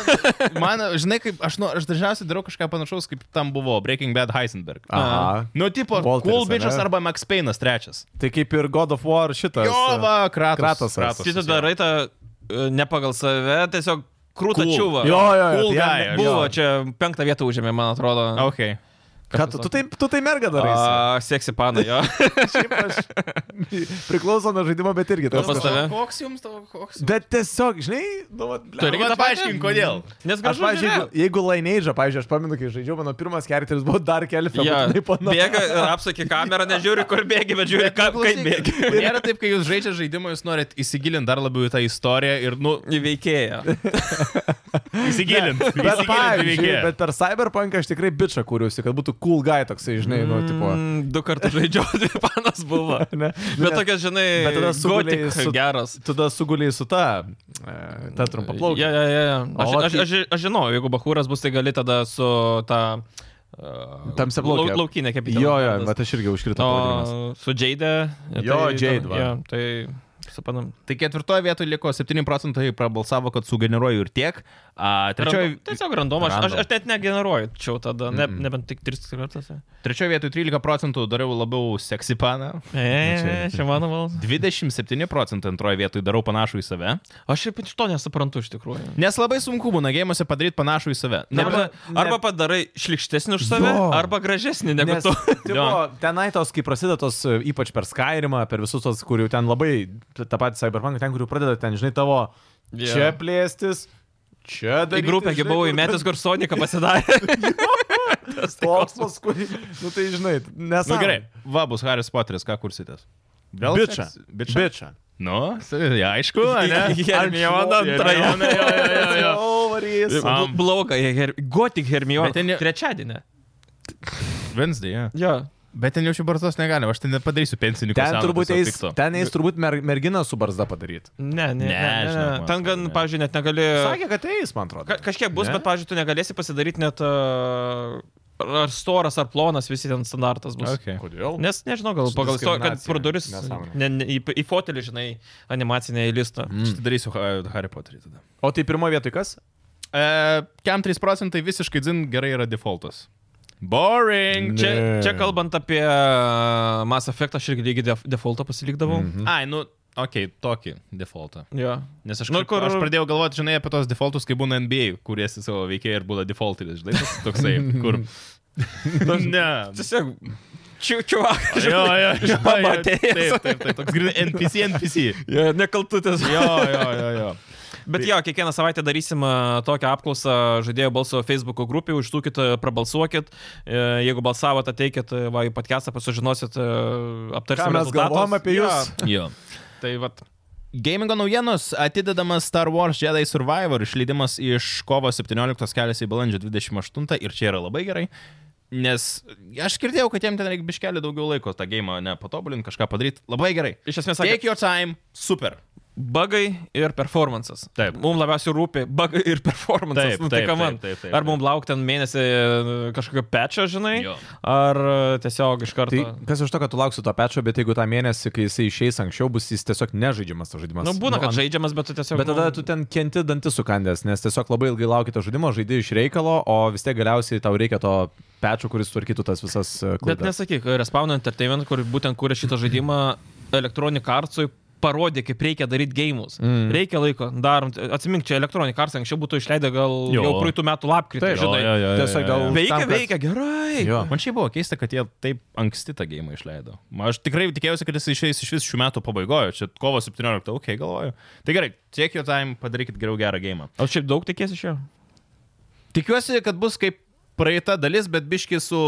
man žinai, kaip aš, nu, aš dažniausiai darau kažką panašaus, kaip tam buvo Breaking Bad Heisenberg.
Aha.
Nu, tipo,
Walteris,
Walteris, Cool Bitches
ane?
arba Max Payne'as trečias.
Tai kaip ir God of War šitas.
Jo, va, kratos.
e, Kratosas.
Tai tu darai tą e, ne pagal save, tiesiog krūtą
Cool.
čiūvą.
Jo, jo, jo.
Cool
tai jam
guy,
ne-
jo.
Buvo, čia penktą vietą užėmė, man atrodo.
Okay.
Ką tu, tu, tai, tu tai merga darai?
A, seksi pana, jo.
Šiaip aš priklauso nuo žaidimo, bet irgi tas.
Nu, pas
kažkoks-
tave.
Koks jums tavo, koks?
Bet tiesiog, žinai, nu, vat,
Tu reikia
vat,
tą paaiškinti, kodėl.
Nes
Aš,
gražu,
pavyzdžiui, jeigu, jeigu lainėžą, pavyzdžiui, aš pamenu, kai žaidžiau, mano pirmas kerteris buvo dar kelfė,
Ja,
yeah. taip pana.
bėga, apsakė kamerą, nežiūri, kur bėgi, bet žiūri, kaip, kaip bėgi.
Nėra taip, kai jūs žaidžiate žaidimą, jūs norit įsigilinti dar labiau į tą istoriją ir, nu,
Įveikėja.
įsigilinti.
Bet, pavyzdžiui, bet per Cyberpunk aš tikrai bičą kūriausi, kad būtų cool guy toksai, žinai, nu, tipo.
Mm, Du kartus žaidžiau, dvi panas buvo.
Ne?
Bet tokia, žinai,
bet tada sugulei
gotik
su-
geras.
Tada suguliai su ta, e, ta trumpa plaukė.
Ja, ja, ja, ja. Aš,
O,
aš, aš, aš žinau, jeigu Bahūras bus, tai gali tada su ta... Uh,
Tamsiaplaukė.
lau- Laukinė kaip
Jo, jo, bet aš irgi užkritau. pavadinimas.
O su Jade.
Jo, Jade, va.
Ja, tai supanam.
Tai ketvirtoje vietoje liko 7 procentai prabalsavo, kad sugeneruoju ir tiek. A, trečioje,
Random, tai tiesiog random, aš, aš,
Random.
aš net negeneruoju, čia tada, ne, nebent tik tris kartus.
trečioje vietoje 13 procentų dariau labiau seksipaną.
E, čia mano val.
27 procentai antroje vietoje darau panašų į save.
Aš šiaip iš to nesuprantu iš tikrųjų.
Nes labai sunku būna gėjimuose padaryti panašų į save. Ne,
Arba,
ne-
arba padarai šlikštesnį už save,
Jo.
arba gražesnį negu
Nes,
tu.
tipo, tenai tos, kai prasideda tos, e, ypač per Skyrimą, per visus tos, kur jau ten labai, tą patį Cyberpunk, ten, kur jau pradeda ten, žinai, tavo
Jo.
čia plėstis, čia
Į
daryti.
grupę
tai, žinai,
gi buvau
kur-
įmetęs, kur Sonika pasidarė.
Toks paskui. Nu tai žinai, nes.
nu, gerai, va bus Haris Potteris, ką kursitės? Vėl
Bičą.
seks-
Bičą. Bičą.
Nu, ja, aišku, ne?
Hermiona antrąją.
Hermiona, jo, jo, jo, jo.
Overys.
Am.
Bl- Bloga, jie her... gotik Hermiona.
Bet ten ne-
Trečiadienį.
Wednesday, ja.
Jo.
Bet ten jau šių barzdos negalima, aš ten nepadarysiu pensininkų.
Ten
seno
turbūt
tiesiog
eis,
pikto.
ten eis turbūt mer, merginą su barzda padaryti.
Ne, ne, ne. ne,
žinok, man
ne.
atrodo,
Ten gan,
ne.
pavyzdžiui, net negali.
Sakė, kad eis, man atrodo.
E, Ka kažkiek bus,
Ne?
bet, pavyzdžiui, tu negalėsi pasidaryti net uh, ar storas, ar plonas, visi ten standartas bus.
Okay.
Kodėl?
Nes nežinau, gal
Su
pagal to, kad
diskriminacija.
produris
Nesąmonė. Mm,
ne, ne, į, į fotelį, žinai, animacinę listą.
Aš tai darysiu Ha- Harry Potterį tada.
O tai pirmoje vietoje kas?
E, Kiam 3 procentai visiškai dzin gerai yra defaultas. Boring.
Ne.
Čia, čia kalbant apie uh, Mass Effect, aš irgi lygiai def defaultą pasilikdavau.
Mhm.
Mm -hmm.
Ai, nu, okei, okay, tokį defaultą.
Jo.
Nes aš,
Nu,
nu, kur...
kur-
aš pradėjau galvoti, žinai, apie tos defaultus, kai būna NBA, kuriesi savo veikėjai ir būna defaultinis, žinai, tas toksai, kur... ne.
Tiesiog. Čiu, čiu,
Jo, jo, jo, jo,
Pamatėjęs.
taip, taip, taip, toks grinai NPC, NPC.
Ja, nekaltutis.
Jo, jo, jo, jo.
Bet jo, kiekvieną savaitę darysim e, tokią apklausą žaidėjo balso Facebook grupį, užtūkit, e, prabalsuokit. E, Jeigu balsavote, ateikit e, va, į podcastą, pasižinosit, e,
Ką
aptarsim.
mes galvom apie jūs?
jo.
Tai vat,
Gamingo naujienos atidedamas Star Wars Jedi Survivor išleidimas iš kovo 17 keliasi į balandžio 28 ir čia yra labai gerai, nes aš girdėjau, kad jiem ten reikia biškelį daugiau laiko tą gėjimą ne patobulinti, kažką padaryti, labai gerai.
iš esmės, sakė,
Take your time, super.
bagai ir performances.
Taip.
Mums labiausiai rūpi bagai ir performances.
Taip,
nu, tai
taip,
ką man.
taip, taip, taip,
Ar mums laukti ten mėnesį e, kažkokio pečio, žinai,
Jo.
ar e, tiesiog iš karto.
Tai kas iš to, kad tu lauksi to pečio, bet jeigu tą mėnesį, kai jisai išeis anksčiau, bus jis tiesiog nežaidžiamas tas žaidimas.
Na, nu, būna, kad
ant-
žaidžiamas, bet tu tiesiog...
Bet tada
nu,
tu ten kenti dantis sukandęs, nes tiesiog labai ilgai laukia to žaidimo, žaidži iš reikalo, o vis tiek galiausiai tau reikia to pečio, kuris tvarkytų tas visas e,
Bet
klaidas.
nesakyk, Respawn Entertainment, kur būtent kūrė šitą žaidimą Electronic Artsui, parodė, kaip reikia daryti gėjimus. Mm. Reikia laiko, darom. Atsimink, čia Electronic Arts anksčiau būtų išleidę gal
Jo.
jo. jau praeitų metų lapkritį,
Taip,
žinai. Jo, jo.
Tiesiog gal.
Veikia,
tam, kad-
veikia, gerai.
Jo.
Man šiaip buvo keista, kad jie taip anksti tą gėjimą išleido. Aš tikrai tikėjausi, kad jis išeis iš vis šių metų pabaigojo, čia kovo 17, ok, galvoju. Tai gerai, take your time, padarykit geriau gerą gėjimą.
O šiaip daug tikėsi iš jo?
Tikiuosi, kad bus kaip praeita dalis, bet biški su...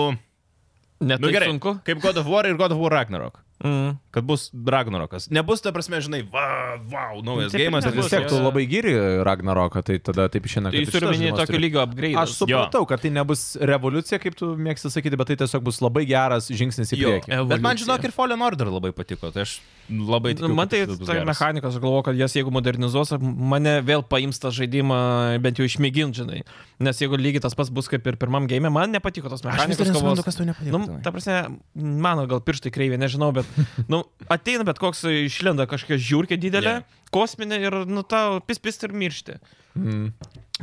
Net
Nu
nu,
gerai,
sunku.
kaip God of War ir God of War Ragnarok.
Mm.
Kad bus Ragnarokas. Nebus, ta prasme, žinai, wow, wow naujas
Taip ir
gėjimas.
nebus,
Vis tiek tu
Jo.
labai gyri Ragnaroką, tai tada taip išeina. kad
Tai jūs
ir šitas
turite minį
žaidimas
tokio
turi-
lygio upgrade.
Aš supratau, kad tai nebus revoliucija, kaip tu mėgsti sakyti, bet tai tiesiog bus labai geras žingsnis į
Jo,
priekį.
bet man žinok ir Fallen Order labai patiko, tai aš labai tikiu.
Man
kad
tai
jis bus
ta
geras.
mechanika, aš galvoju, kad jas jeigu modernizuos, mane vėl paims tą žaidimą, bent jau išmėgint, žinai. Nes jeigu lygiai tas pats bus kaip ir pirmam game, man nepatiko tos mechanikos kovos.
kas tau nepatiko.
Nu, ta prasme, mano gal pirštai kreivė, nežinau, bet nu, ateina bet koks išlenda kažkokia žiūrkė didelė, yeah. kosminė ir nu tau pis pis ir miršti.
Mhm.
Mm.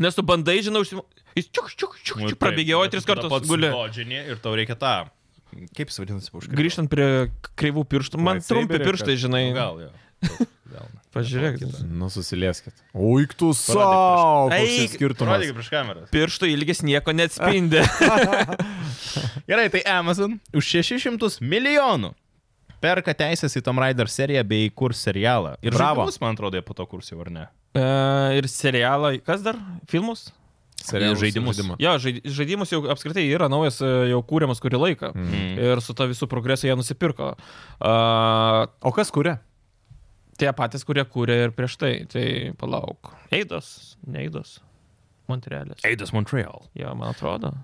Nes tu bandai, žinai, užsim... Jis čiuk, čiuk, čiuk,
Nu,
čiuk, prabėgioja tris kartus. Guli.
Dodžinį ir tau reikia tą. Kaip jis vadinasi, už
Grįžtant prie kreivų pirštų, man
Lightsaberį
trumpi
ar
pirštai,
kas?
žinai.
Nu, Gal, jo.
Pažiūrėk.
Nu, susilieskit.
Oik tu savo.
Eik,
Koks čia skirtumas.
Rodyk prieš kamerą.
Piršto ilgis nieko neatspindi.
Gerai, tai Amazon už 600 milijonų perka teisės į Tom Raider seriją bei kurs serialą. Ir
Bravo.
žaidimus, man atrodo, jie po to kurs jau ar ne.
E, ir serialą, kas dar? Filmus?
Serialus
Žaidimus.
žaidimą.
Jo, žaid- žaidimus jau apskritai yra naujas, e, jau kūriamas kurį laiką.
Mm.
Ir su to visų progresu jie nusipirko. Uh,
O kas kuria?
tie patys, kurie kūrė ir prieš tai. Tai palauk. Eidos, neidos. Montrealis.
Eidas Montreal.
Jo, man atrodo.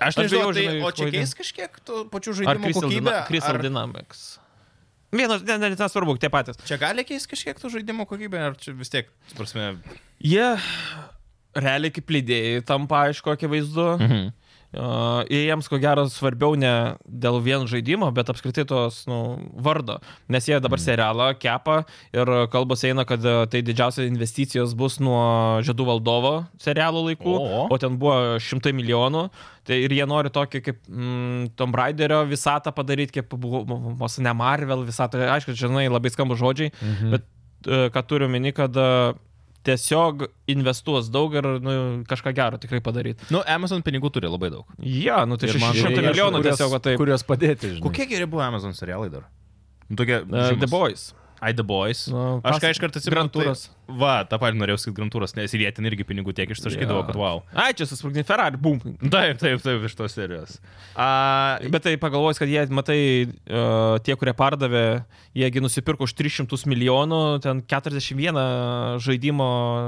Aš
Aš
nežinau,
bijau,
tai,
žinai,
o čia
klaidin-
keis kažkiek tų pačių
Ar
žaidimų kokybę?
Crystal, Dina Crystal
ar...
Dynamics. Vienas, ne, ne, nesvarbu, tie patys.
Čia gali keis kažkiek tų žaidimų kokybę, ar čia vis tiek, ta prasme.
Jie realiai kaip lydėjai tampa aišku, akivaizdu. Mhm.
Mhm.
Uh, ir jiems ko gero svarbiau ne dėl vien žaidimo, bet apskritai tos nu, vardo. Nes jie dabar serialą kepa ir kalbos eina, kad uh, tai didžiausios investicijos bus nuo Žiedų valdovo serialo laikų,
O.
o, o ten buvo šimtai milijonų. Tai ir jie nori tokį kaip mm, Tom Raiderio visatą padaryti, kaip buvo, vos ne Marvel visatą. Aišku, žinai, labai skamba žodžiai, mhm. bet uh, ką turiu meni, kad uh, tiesiog investuos daug ir nu, kažką gero tikrai padaryti.
Nu, Amazon pinigų turi labai daug.
Ja, nu tai
Ir man
600
reikia
milijonų tiesiog tai- va taip.
Kurios padėti, žinai.
Kokie geri buvo Amazon serialai dar? Nu, Tokie.
Uh, The
žymus.
Boys.
I the Boys.
Nu,
Aš
pas-
ką iš karto atsimenu.
Grand Touras.
Tai, va, tą patį norėjau sakyti Grantūras, nes ir jie ten irgi pinigų tiek ištaškydavo,
Jo.
kad wow. Nu,
Ai, čia susprogdinti Ferrari, bum.
Taip, taip, taip, iš tos serijos. A,
Bet tai pagalvojus, kad jie, matai, uh, tie, kurie pardavė, jiegi nusipirko už 300 milijonų, ten 41 žaidimo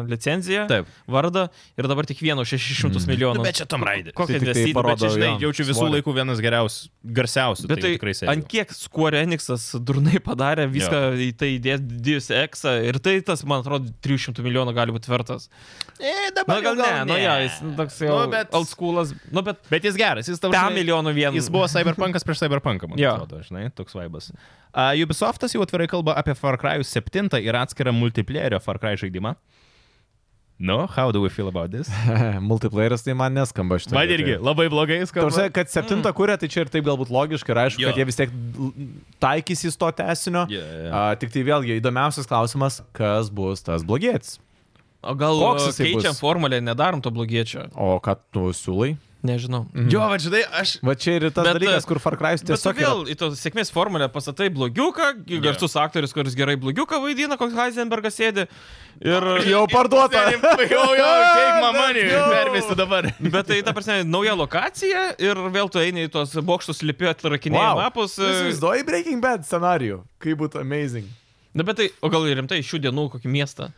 licenciją,
Taip.
vardą ir dabar tik vieno 600 mm.
nu,
milijonų.
bet čia Tom Raider.
Tai
Kokia
tik tai
investicija,
Bet
parodo
čia, žinai,
jo
jaučiu visų
svorį.
laikų vienas geriausių, garsiausių.
Bet tai
tikrai
ant kiek Square Enixas durnai padarė, viską į tai įdės Dius X ir tai tas, man atrodo, 300 milijonų gali būti vertas.
E,
Na
dabar
gal
jau
ne, nu ja, jis nu, toks jau
Nu, bet-
old schoolas, nu bet
Bet jis geras, jis tavo.
100 milijonų vien.
Jis buvo Cyberpunkas prieš Cyberpunką, man
Jo.
atrodo, žinai, toks vaibas. Uh, Ubisoftas jau atvirai kalba apie Far Cry 7 ir atskirą multiplayerio Far Cry žaidimą. Nu, no, how do we feel about this?
Multiplayeras tai man neskamba šitą.
Man irgi labai blogai
Tarsi,
skamba.
kad septintą
Mm.
kūrė, tai čia ir taip galbūt logiška ir aišku,
Jo.
kad jie vis tiek l- taikysis to tesinio.
Jo, jo, jo.
A, tik tai vėlgi įdomiausias klausimas, kas bus tas blogietis.
O gal
Koks
Koks
jisai
keičiam
bus?
formulę, nedarom to blogiečio?
O ką tu siūlai?
Nežinau.
Jo, va, žinai, aš
Va čia ir tas
Bet,
Bet, dalykas,
e,
kur Far Cry tiesiog...
Tiesiog Mhm. bet tu vėl į tos sėkmės formulę pasatai blogiuką, garsus aktorius, kuris gerai blogiuką vaidina, koks Heisenbergas sėdi. Ir...
yra- Jau parduota.
Jau, jau, take my money,
Let's go.
pervesti dabar.
Bet tai, ta prasme, nauja lokacija ir vėl tu eini į tos bokštus, lipi atlarakinėjai wow. mapus. e.
Tu Įsivaizduoji Breaking Bad scenarijų. Kaip būtų amazing.
Na, bet tai, o gal ir rimtai šių dienų kokį miestą?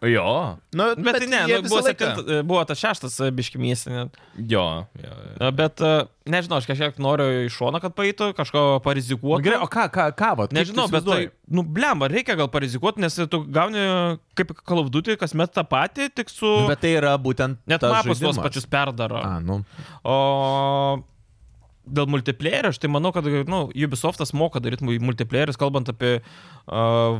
Jo. Nu,
Bet, bet tai ne, nu, buvo, septinta, buvo tas šeštas biški miestinė.
Jo, jo, jo.
Bet e, nežinau, aš kažkiek noriu iš šono, kad paeitų, kažko
O,
parizikuotų.
gerai, o ką, ką, ką, va,
Nežinau, bet tai, nu, blemba, reikia gal parizikuoti, nes tu gauni kaip kalavdutį kasmet tą patį, tik su...
Bet tai yra būtent...
Net
tas
mapus tuos
žaidimas.
pačius perdaro.
A, nu.
O dėl multiplayerio, aš tai manau, kad nu, Ubisoftas moka daryti mu- multiplayerius, kalbant apie uh,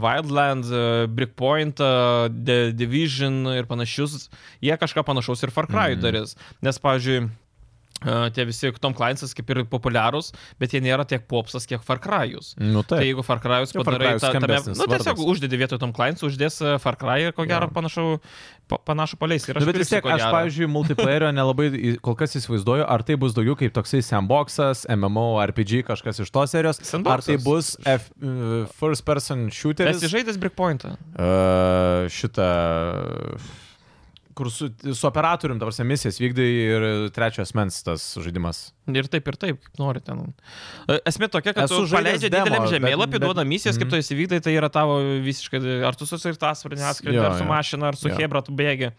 Wildlands, uh, Brickpoint, uh, The Division ir panašius. Jie kažką panašaus ir Far Cry
Mhm.
mm. darys. Nes, pavyzdžiui, uh, tie visi Tom Kleinsas kaip ir populiarūs, bet jie nėra tiek popsas, kiek Far Cry'us.
Nu
Tai
tai.
jeigu Far Cry'us
Jo, Far
padarai
Cry'us
tą... Tame,
skambesnis
nu, tiesiog
vardas.
uždedi vietoj Tom Clients, uždės e, Far Cry ir ko gero panašų, pa, panašų paleis. Ir
Na, Nu, bet vis
pirksiu,
tiek,
ko
aš,
gero.
pavyzdžiui, multiplayerio nelabai į- kol kas įsivaizduoju, ar tai bus daugiau kaip toksai sandboxas, MMO, RPG, kažkas iš tos serijos. Ar tai
Sandboxas.
bus F, e, first person shooteris?
Esi žaidęs Brickpointą.
E, šitą, kur su, su operatorium, dabar se misijas vykdai ir trečios mens tas žaidimas.
Ir taip, ir taip, kaip nori ten. E, Esmė tokia, kad
Esu
tu
žaidęs
paleidžia
demo,
dideliam
bet-
žemėlapį,
bet- mhm.
duoda misijas, kaip tu įsivykdai, tai yra tavo visiškai, ar tu susirtas, ar neatskridi,
Jo,
ar su
jo.
mašina, ar su
Jo.
hebra tu bėgi.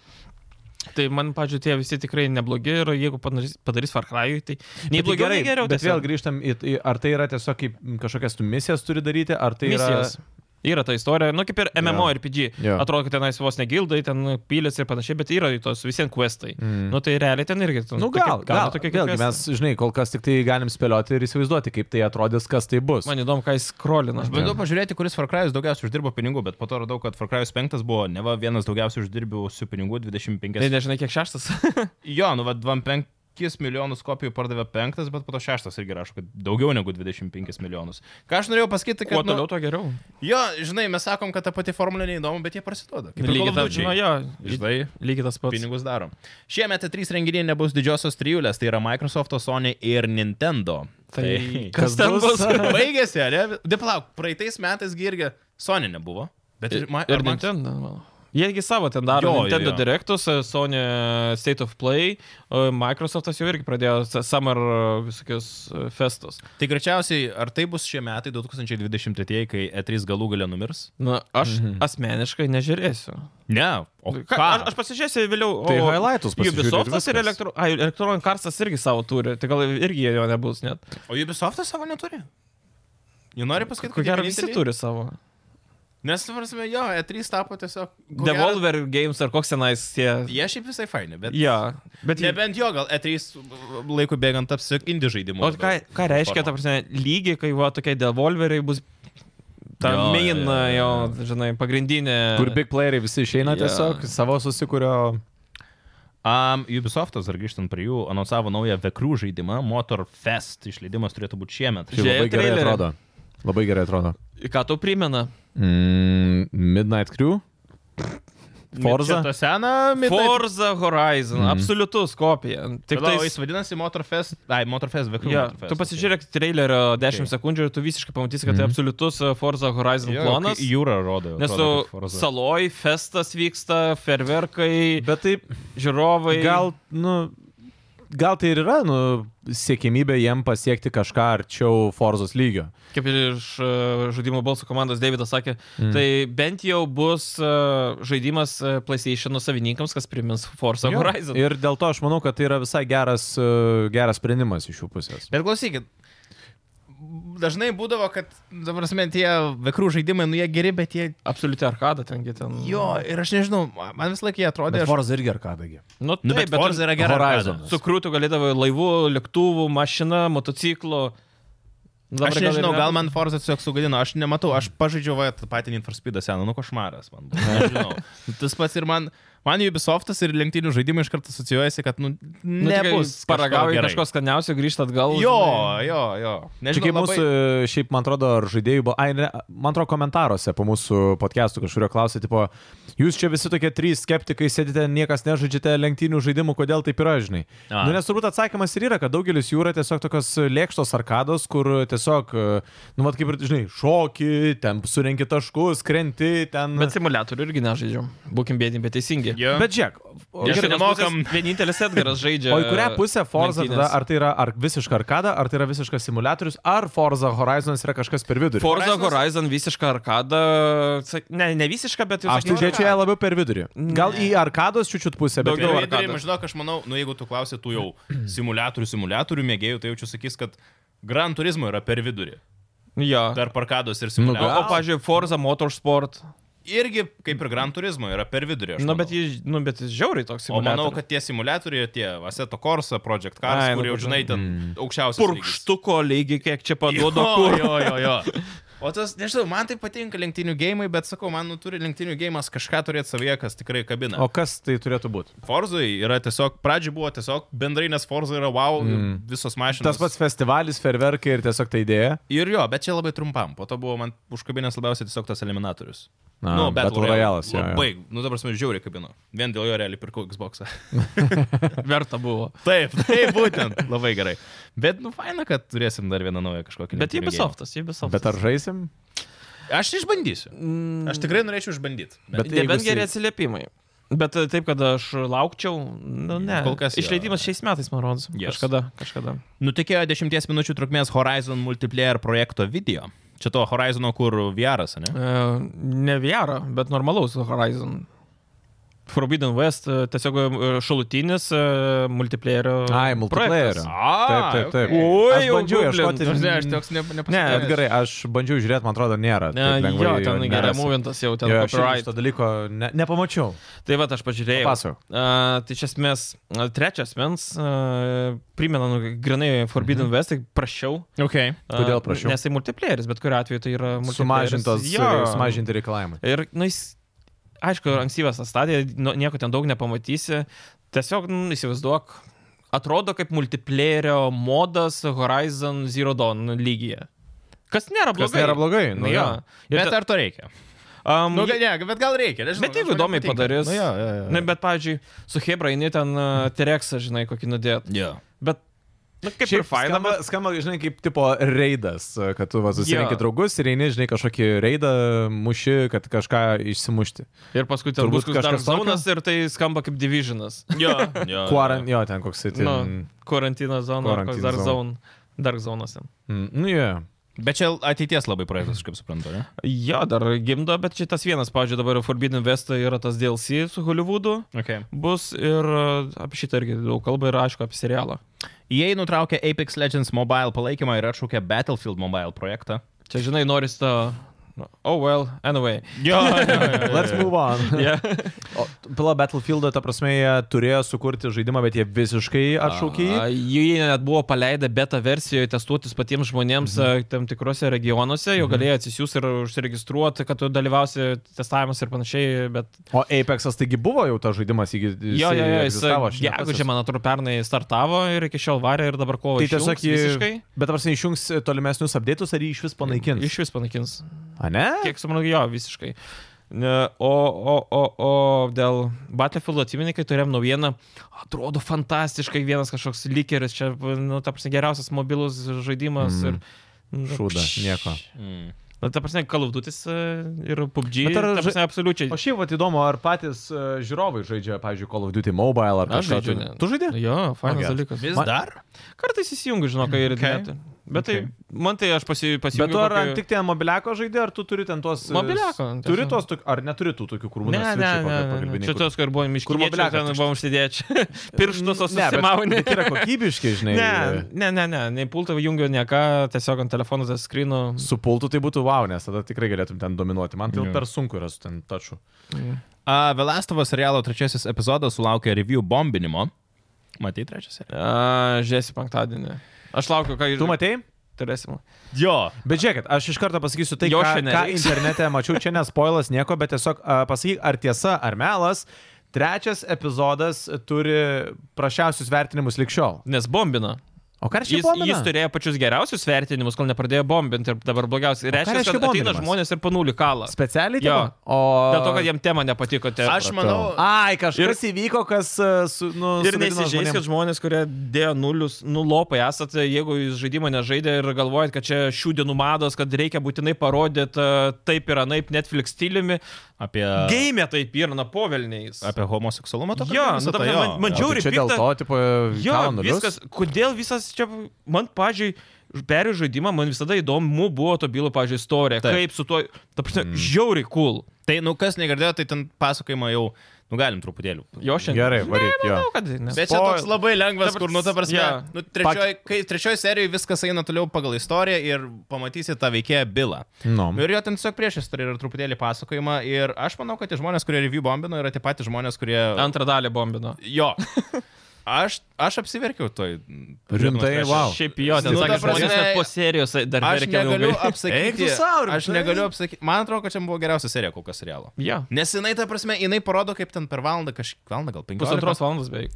Tai man, pažiūrėjau, tie visi tikrai neblogi ir jeigu padarys, padarys Far Cry'ui, tai nei
Bet
blogiau, nei geriau.
Bet vėl
tiesiog.
grįžtam į, į, ar tai yra tiesiog kaip m, kažkokias tu misijas turi daryti, ar tai
misijos. Yra ta istorija, nu kaip ir MMO
Jo.
RPG.
Jo.
Atrodo, kad tenais vos negildai, ten pilis ir panašiai, bet yra į tos visiems questai.
Mm.
Nu tai realiai ten irgi.
yra... Nu gal, gal,
tokie
vėlgi mes, žinai, kol kas tik tai galim spėlioti ir įsivaizduoti, kaip tai atrodys, kas tai bus.
Man įdomu, ką jis krolina.
Aš bandau pažiūrėti, kuris Far Cry'us daugiausiai uždirbo pinigų, bet po to radau, kad Far Cry'us 5 buvo ne va vienas daugiausiai uždirbiausių pinigų,
Tai
25.
nežinai, kiek šeštas.
Jo, nu, va, 25. 5 milijonus kopijų pardavė penktas, bet po to šeštas irgi rašo, kad daugiau negu 25 milijonus. Ką aš norėjau pasakyti,
Kuo
kad... nu-
toliau, tuo geriau.
Jo, žinai, mes sakom, kad ta pati formulė neįdomu, bet jie prasiduoda. Kaip ir Call
Lygiai
of
tas,
Duty.
nu, jo,
Žinai,
lygiai tas pats.
pinigus darom. Šiemet E trys renginiai nebus didžiosios trijulės, tai yra Microsoft, Sony ir Nintendo.
Tai
Kas
kas ten
bus?
bus?
Baigėsi, ar ne? Deplauk, praeitais metais gi irgi Sony nebuvo. Bet ir, ma,
Ir
ar Max-
Nintendo. manau. Jiegi savo ten daro
Jo,
jo,
jo,
Nintendo
jo.
jo. Directus, e, Sony e, State of Play, e, Microsoftas jau irgi pradėjo s- Summer e, visokius e, festus.
Tai greičiausiai, ar tai bus šie metai 2023, kai E3 galų gale numirs?
Na, aš mhm. asmeniškai nežiūrėsiu.
Ne, o
Ka,
ką?
aš, aš pasižiūrėsiu vėliau.
Tai
o
highlightus pasižiūri ir
Ubisoftas ir
viskas.
elektro, ai, Electronic Artsas irgi savo turi, tai gal irgi jie jo nebus net.
O Ubisoftas savo neturi? Jie nori pasakyti,
Ko gero visi turi savo.
Nes, suprasme, jo, E3 tapo tiesiog... ko gero-
Devolver Games ar koks senais tie.
Jie šiaip visai faini, bet...
Ja, bet jie-
Nebent jo, gal E3 laikų bėgant taps indie žaidimu.
O ką, ką reiškia, ta prasme, lygiai, kai va tokie devolveriai bus ta
Jo,
jo, main,
jo,
jo,
jo,
jo, žinai, pagrindinė.
Kur big playeriai visi išeina
Jo.
tiesiog, savo susikurio
Um, Ubisoftas, ar grįžtant prie jų, anonsavo naują Vekrų žaidimą, Motor Fest. Išleidimas turėtų būti šiemet.
Žiūrėjai
labai gerai
trailerį?
atrodo. Labai gerai atrodo.
Ką tau primena?
Mm, Midnight Crew. Forza. Mhm.
Šitą seną Midnight...
Forza Horizon, mm. absoliutus kopija.
Tik
Tik
tai
tai...
jis vadinasi Motor Fest. Ai, Motor Fest Vekrų.
Ja,
Motor Fest,
tu pasižiūrėk trailerio 10
Okay.
okay. sekundžių ir tu visiškai pamatysi, kad mm. tai
Mhm.
absoliutus e, Forza Horizon
Jo,
jo, klonas.
kai Jūra rodo.
Nes tu
atrodo, kaip Forza.
saloj, festas vyksta, ferverkai,
Bet taip,
žiūrovai.
gal, nu, gal tai ir yra, nu, siekimybė jiem pasiekti kažką arčiau Forzos lygio.
kaip ir iš e, žaidimo balsų komandos Davidas sakė,
Mhm.
mm. tai bent jau bus e, žaidimas e, PlayStation savininkams, kas primins Forza
Jo.
Horizon.
Ir dėl to aš manau, kad tai yra visai geras, e, geras sprendimas iš jų pusės.
Bet klausykit, dažnai būdavo, kad, dabar asmen, tie Vekrų žaidimai, nu jie geri, bet jie...
Absoliuti arkada tengi ten.
Jo, ir aš nežinau, man visą laiką jie atrodė...
Bet
Aš...
Forza irgi arkadagi.
Nu,
Nu,
taip,
bet Forza yra gera.
Horizon.
arkada.
Su krūtų galėdavo laivu, lėktuvu, mašina, Nu, motociklu.
Aš nežinau, gal man Forza tiesiog sugadino, aš nematau, aš pažaidžiau va, tą patį Need for Speedą seną, nu košmaras man. buvo, Nežinau. Tas pats ir man, man Ubisoftas ir lenktynių žaidimai iš karto asocijuojasi, kad, nu, nebus. kažko
Paragauji
gerai.
kažko skaniausio, grįžti atgal.
Jo,
žinai.
jo, jo.
Čia kaip
Nežinau,
mūsų,
labai...
e, šiaip man atrodo, ar žaidėjų, buvo- ai, ne, man atrodo, komentaruose po mūsų podcastų kažkurio klausė, tipo, jūs čia visi tokie trys skeptikai sėdite, niekas nežaidžiate lenktynių žaidimų, kodėl taip yra, žinai.
A.
Nu, nes turbūt atsakymas ir yra, kad daugelis jų yra tiesiog tokios lėkštos arkados, kur tiesiog, e, nu, vat kaip ir, žinai, šoki, ten surenki taškus, krenti, ten...
Bet simuliatorių irgi nežaidžiu. Būkim bėdini, bet teisingi.
Jo.
Bet žiūrėk, o-
Nes
Iš
čia
vienos
nemokam.
pusės Vienintelis Edgaras žaidžia.
O į
e,
kurią pusę Forza
lenktynes.
tada, ar tai yra ar visiška arkada, ar tai yra visiškas simulatorius, ar Forza Horizonas yra kažkas per vidurį?
Forza
Horizonas-
Horizon visiška arkada. sak- Ne, ne visiška, bet jau
Aš tai
sakyčiau,
žiūrėčiau ją labiau per vidurį. Gal į arkados čiūčiut pusę, bet
Daugiau
jau
Gerai,
arkada.
Vidurim, žinok, aš manau, nu jeigu tu klausai tų jau simulatorių, simulatorių mėgėjų, tai jaučiu sakys, kad Gran Turismo yra per vidurį.
Jo.
Tarp arkados ir
O, o
simulatorių.
pažiūrėjau, Forza Motorsport.
Irgi kaip ir Gran Turismo yra per vidurį. aš
Nu,
manau.
bet jis, nu, bet jis žiauriai toks
O
simuliatorius.
manau, kad tie simuliatoriai, tie Aseto Corsa, Project Cars,
Ai, nu,
kur jau
kur-
žinai, ten aukščiausias.
purkštuko lygiai, kiek čia paduoda
duoda
kur.
Jo, jo, jo. O tas, nežinau, man tai patinka lenktynių gėjimai, bet sakau, man nu, turi lenktynių gėjimas kažką turėti savyje, kas tikrai kabina.
O kas tai turėtų būti?
Forzai yra tiesiog, pradžioje buvo tiesiog bendrai, nes Forza yra wow, mm. visos mašinos.
Tas pats festivalis, ferverkai ir tiesiog ta idėja.
Ir jo, bet čia labai trumpam. Po to buvo man užkabinęs labiausiai tiesiog tas eliminatorius. Nu,
Na, Battle Royale'as, jo, jo.
Baig, nu dabar mes žiauriai kabino. Vien dėl jo realiai pirkau Xbox.
Verta buvo.
taip, taip, Tai būtent. Labai gerai. Bet, nu, faina, kad turėsim dar vieną naują kažkokį.
Bet
lenktynių
Ubisoftas, Ubisoftas.
Bet ar žaisim?
gėjimą. Aš išbandysiu. Aš tikrai norėčiau išbandyti.
Bet jeigu
Nebent geri
jisai-
atsiliepimai. Bet e, taip, kad aš laukčiau, nu ne.
Kol kas jo.
Išleidimas šiais metais, man rodos.
Yes.
Kažkada, kažkada.
Nutikėjo 10 minučių trukmės Horizon multiplayer projekto video. Čia to Horizono, kur Vieras, ne?
E, ne VR, bet normalaus Horizon. Forbidden West e, tiesiog e, šalutinis e, multiplayerio.
Ai, multiplayerio.
projektas.
Taip, taip, taip.
Oi,
Aš
jau
bandžiau
googlint.
ieškoti. Mm.
Ne, aš toks ne,
Ne,
Bet gerai, aš bandžiau žiūrėti, man atrodo, nėra.
Ne, jo, ten gerai movintas jau, ten
Ten jo, aš irgi
copyright.
šito dalyko ne, nepamačiau.
Tai va, aš pažiūrėjau.
Papasakok.
A, tai iš esmės, a, trečias mens, a, primena, nu, grinai Forbidden mhm. West, tai prašiau.
Okay.
a,
Kodėl prašiau?
Nes tai multiplayeris, bet kuriu atveju tai yra multiplayeris.
Sumažintos,
Jo.
sumažinti reikalavimai.
Ir, na, jis, aišku, ankstyvas tas stadija, nu, nieko ten daug nepamatysi. Tiesiog, nu, įsivaizduok, atrodo kaip multiplayerio modas Horizon Zero Dawn lygyje. Kas nėra blogai.
Kas nėra blogai, nu
jo.
jo.
Ir
Bet
ta-
ar to reikia?
am,
Nu, ne, bet gal reikia. Nežinau,
Bet jeigu
žmonėm
įdomiai
patinka.
padarys.
Nu, jo, jo, jo.
Ne, bet, pavyzdžiui, su Hebra eini ten uh, Tereksą, žinai, kokį nudėt.
Jo.
Bet, na, kaip ir faina,
skamba, skamba, žinai, kaip tipo reidas, kad tu va, susirinkai
Jo.
draugus ir eini, žinai, kažkokį reidą muši, kad kažką išsimušti.
Ir paskui ten
Turbūt
bus kažkoks Dark
kažkas tokio?
Zonas ir tai skamba kaip Divisionas.
Jo, jo.
Kuaran, jo, ten koks tai.
Nu,
ten-
karantino zona, ar koks
Quarantine
Dark
zone.
Zone. Dark Zonas. ten.
Mm, Nu, jie. Yeah.
Bet čia ateities labai projektas, aš kaip suprantu, ne?
Jo, dar gimdo, bet šitas vienas, pavyzdžiui, dabar Forbidden West yra tas DLC su Hollywoodu.
Okay.
Bus ir uh, apie šitą irgi daug kalba ir aišku apie serialą.
Jei nutraukė Apex Legends mobile palaikymą ir atšaukė Battlefield mobile projektą.
Čia, žinai, noris tą... Oh well, anyway.
Jo,
Let's move on.
Yeah.
O, Pila Battlefield, ta prasme, jie turėjo sukurti žaidimą, bet jie visiškai atšaukė jį.
A, Jų jie net buvo paleidę beta versijoje testuotis patiems žmonėms mhm. tam tikrose regionuose, jo galėjo atsisiųsti ir užsiregistruoti, kad tu dalyvausi testavimuose ir panašiai, bet...
O Apexas taigi buvo jau tas žaidimas, jis,
Jo, jo, jo, jis
egzistavo, aš nepasis-
gegužė, man atrodo, pernai startavo ir iki šiol varė ir dabar kovo.
Tai tiesiog jį...
visiškai.
Bet ar jis išjungs tolimesnius update'us ar jį iš vis panaikins?
Iš vis panaikins.
A ne?
Kiek suprantu, jo, visiškai. Ne, O, o, o, o dėl Battlefield atimininkai turėjom naujieną, atrodo fantastiškai, vienas kažkoks likeris, čia, nu, ta prasme, geriausias mobilus žaidimas
Mm.
mm. ir... nu,
Šūda,
pš.
nieko.
Hmm.
Na, ta prasme, kalaudutis ir PUBG.
Bet ar
Ta prasme, absoliučiai.
O šiaip, va, įdomu, ar patys uh, žiūrovai žaidžia, pavyzdžiui, Call of Duty Mobile ar
Aš
kažką.
žaidžiu,
tu-
ne.
Tu žaidži?
Jo, fainas
Okay.
dalykas.
Vis
Man,
dar?
kartais įsijungiu, žinok, ir
Okay.
okay. net. Bet tai, man tai aš pasi, pasijungiu.
Bet tu ar
kokį-
tik ten mobiliako žaidži, ar tu turi ten tuos... e,
Mobiliako,
s- Turi
tiesa.
tuos, tok- ar neturi tų tokių
Ne,
krūmų?
ne, ne, ne, ne. Čia tos, kur buvo
Kur
miškų
mobiliakas
mobiliakas, ten
tuščias.
buvom užsidėti. Pirštus susimauni.
Bet, bet yra kokybiški, žinai.
Ne, ne, ne, ne, nei pulto jungiu, ne ką, tiesiog ant telefono zaskrinu.
Su pultu tai būtų wow, nes tada tikrai galėtum ten dominuoti. Man tai per sunku yra su ten tačiu.
Uh, Velastovas serialo trečiasis epizodas sulaukė review bombinimo. Matai trečias?
Žiūrėsiu penktadienį. Aš laukiu, ką
Tu matei?
turėsim.
Jo.
Bet žiūrėkit, aš iš karto pasakysiu tai,
Jo
ką,
šiandien
ką
reiks.
internete mačiau, čia nespoilas nieko, bet tiesiog a, pasakyk, ar tiesa, ar melas. Trečias epizodas turi prašiausius vertinimus likščiol.
Nes bombina.
O ką
Jis,
reiškia bombina?
jis turėjo pačius geriausius vertinimus, kol nepradėjo bombinti ir dabar blogiausiai. Reiškia,
reiškia
kad ateina
bombinimas?
žmonės ir panulį kalą.
Specialiai?
Jo.
tipo? O...
Dėl to, kad jiem tema nepatiko. Te...
Aš manau.
Ai, kažkas ir... įvyko, kas a, su... Nu,
Ir
sugadino
nesižeis,
žmonėm.
kad žmonės, kurie dėjo nulius, nulopai esate, jeigu jūs žaidimą nežaidė ir galvojat, kad čia šių dienų mados, kad reikia būtinai parodyti e, taip ir anaip Netflix stiliumi.
Apie,
Game taip ir na povelniais.
apie homoseksualumą to
Jo, nu, ta prasme, man- man
O,
žiauriai
tai Čia dėl
pikta-
to, tipo,
Jo,
kala nulius?
viskas, kodėl visas čia, man, pažiūrėjau, perėjus žaidimą, man visada įdomu buvo to bylo, pažiūrėjau, istorija.
Taip.
Taip. Kaip su tuo, ta prasme, mm. žiauriai cool.
Tai, nu, kas negirdėjo, tai ten pasakojimą jau, nu, galim truputėlį.
Jo, šiandien.
Gerai, varyk, jo.
Manau, kad ne.
Bet čia toks
Spoil-
labai lengvas,
Dabar-
kur, nu, ta prasme,
jo.
yeah. nu, trečioji, kai, trečioji serijoje viskas eina toliau pagal istoriją ir pamatysi tą veikėją Bilą.
Nu.
Nu, ir jo ten tiesiog priešis turi ir truputėlį pasakojimą. Ir aš manau, kad tie žmonės, kurie review bombino, yra tie patys žmonės, kurie...
Antrą dalį bombino.
Jo. Aš, aš apsiverkiau toj.
Rimtai, wow.
Šiaip jo, ten
Nu,
nu,
ta
sakė,
prasme,
žmonės net po serijos dar
Aš
verkia
negaliu
ilgai.
Eik tu
apsakyti.
sau, rimtai.
Aš negaliu apsakyti. Man atrodo, kad čia buvo geriausia serija kol kas serialo.
Jo.
Nes jinai, ta prasme, jinai parodo, kaip ten per valandą, kažkiek valandą gal penkias.
Pusantros valandos beveik.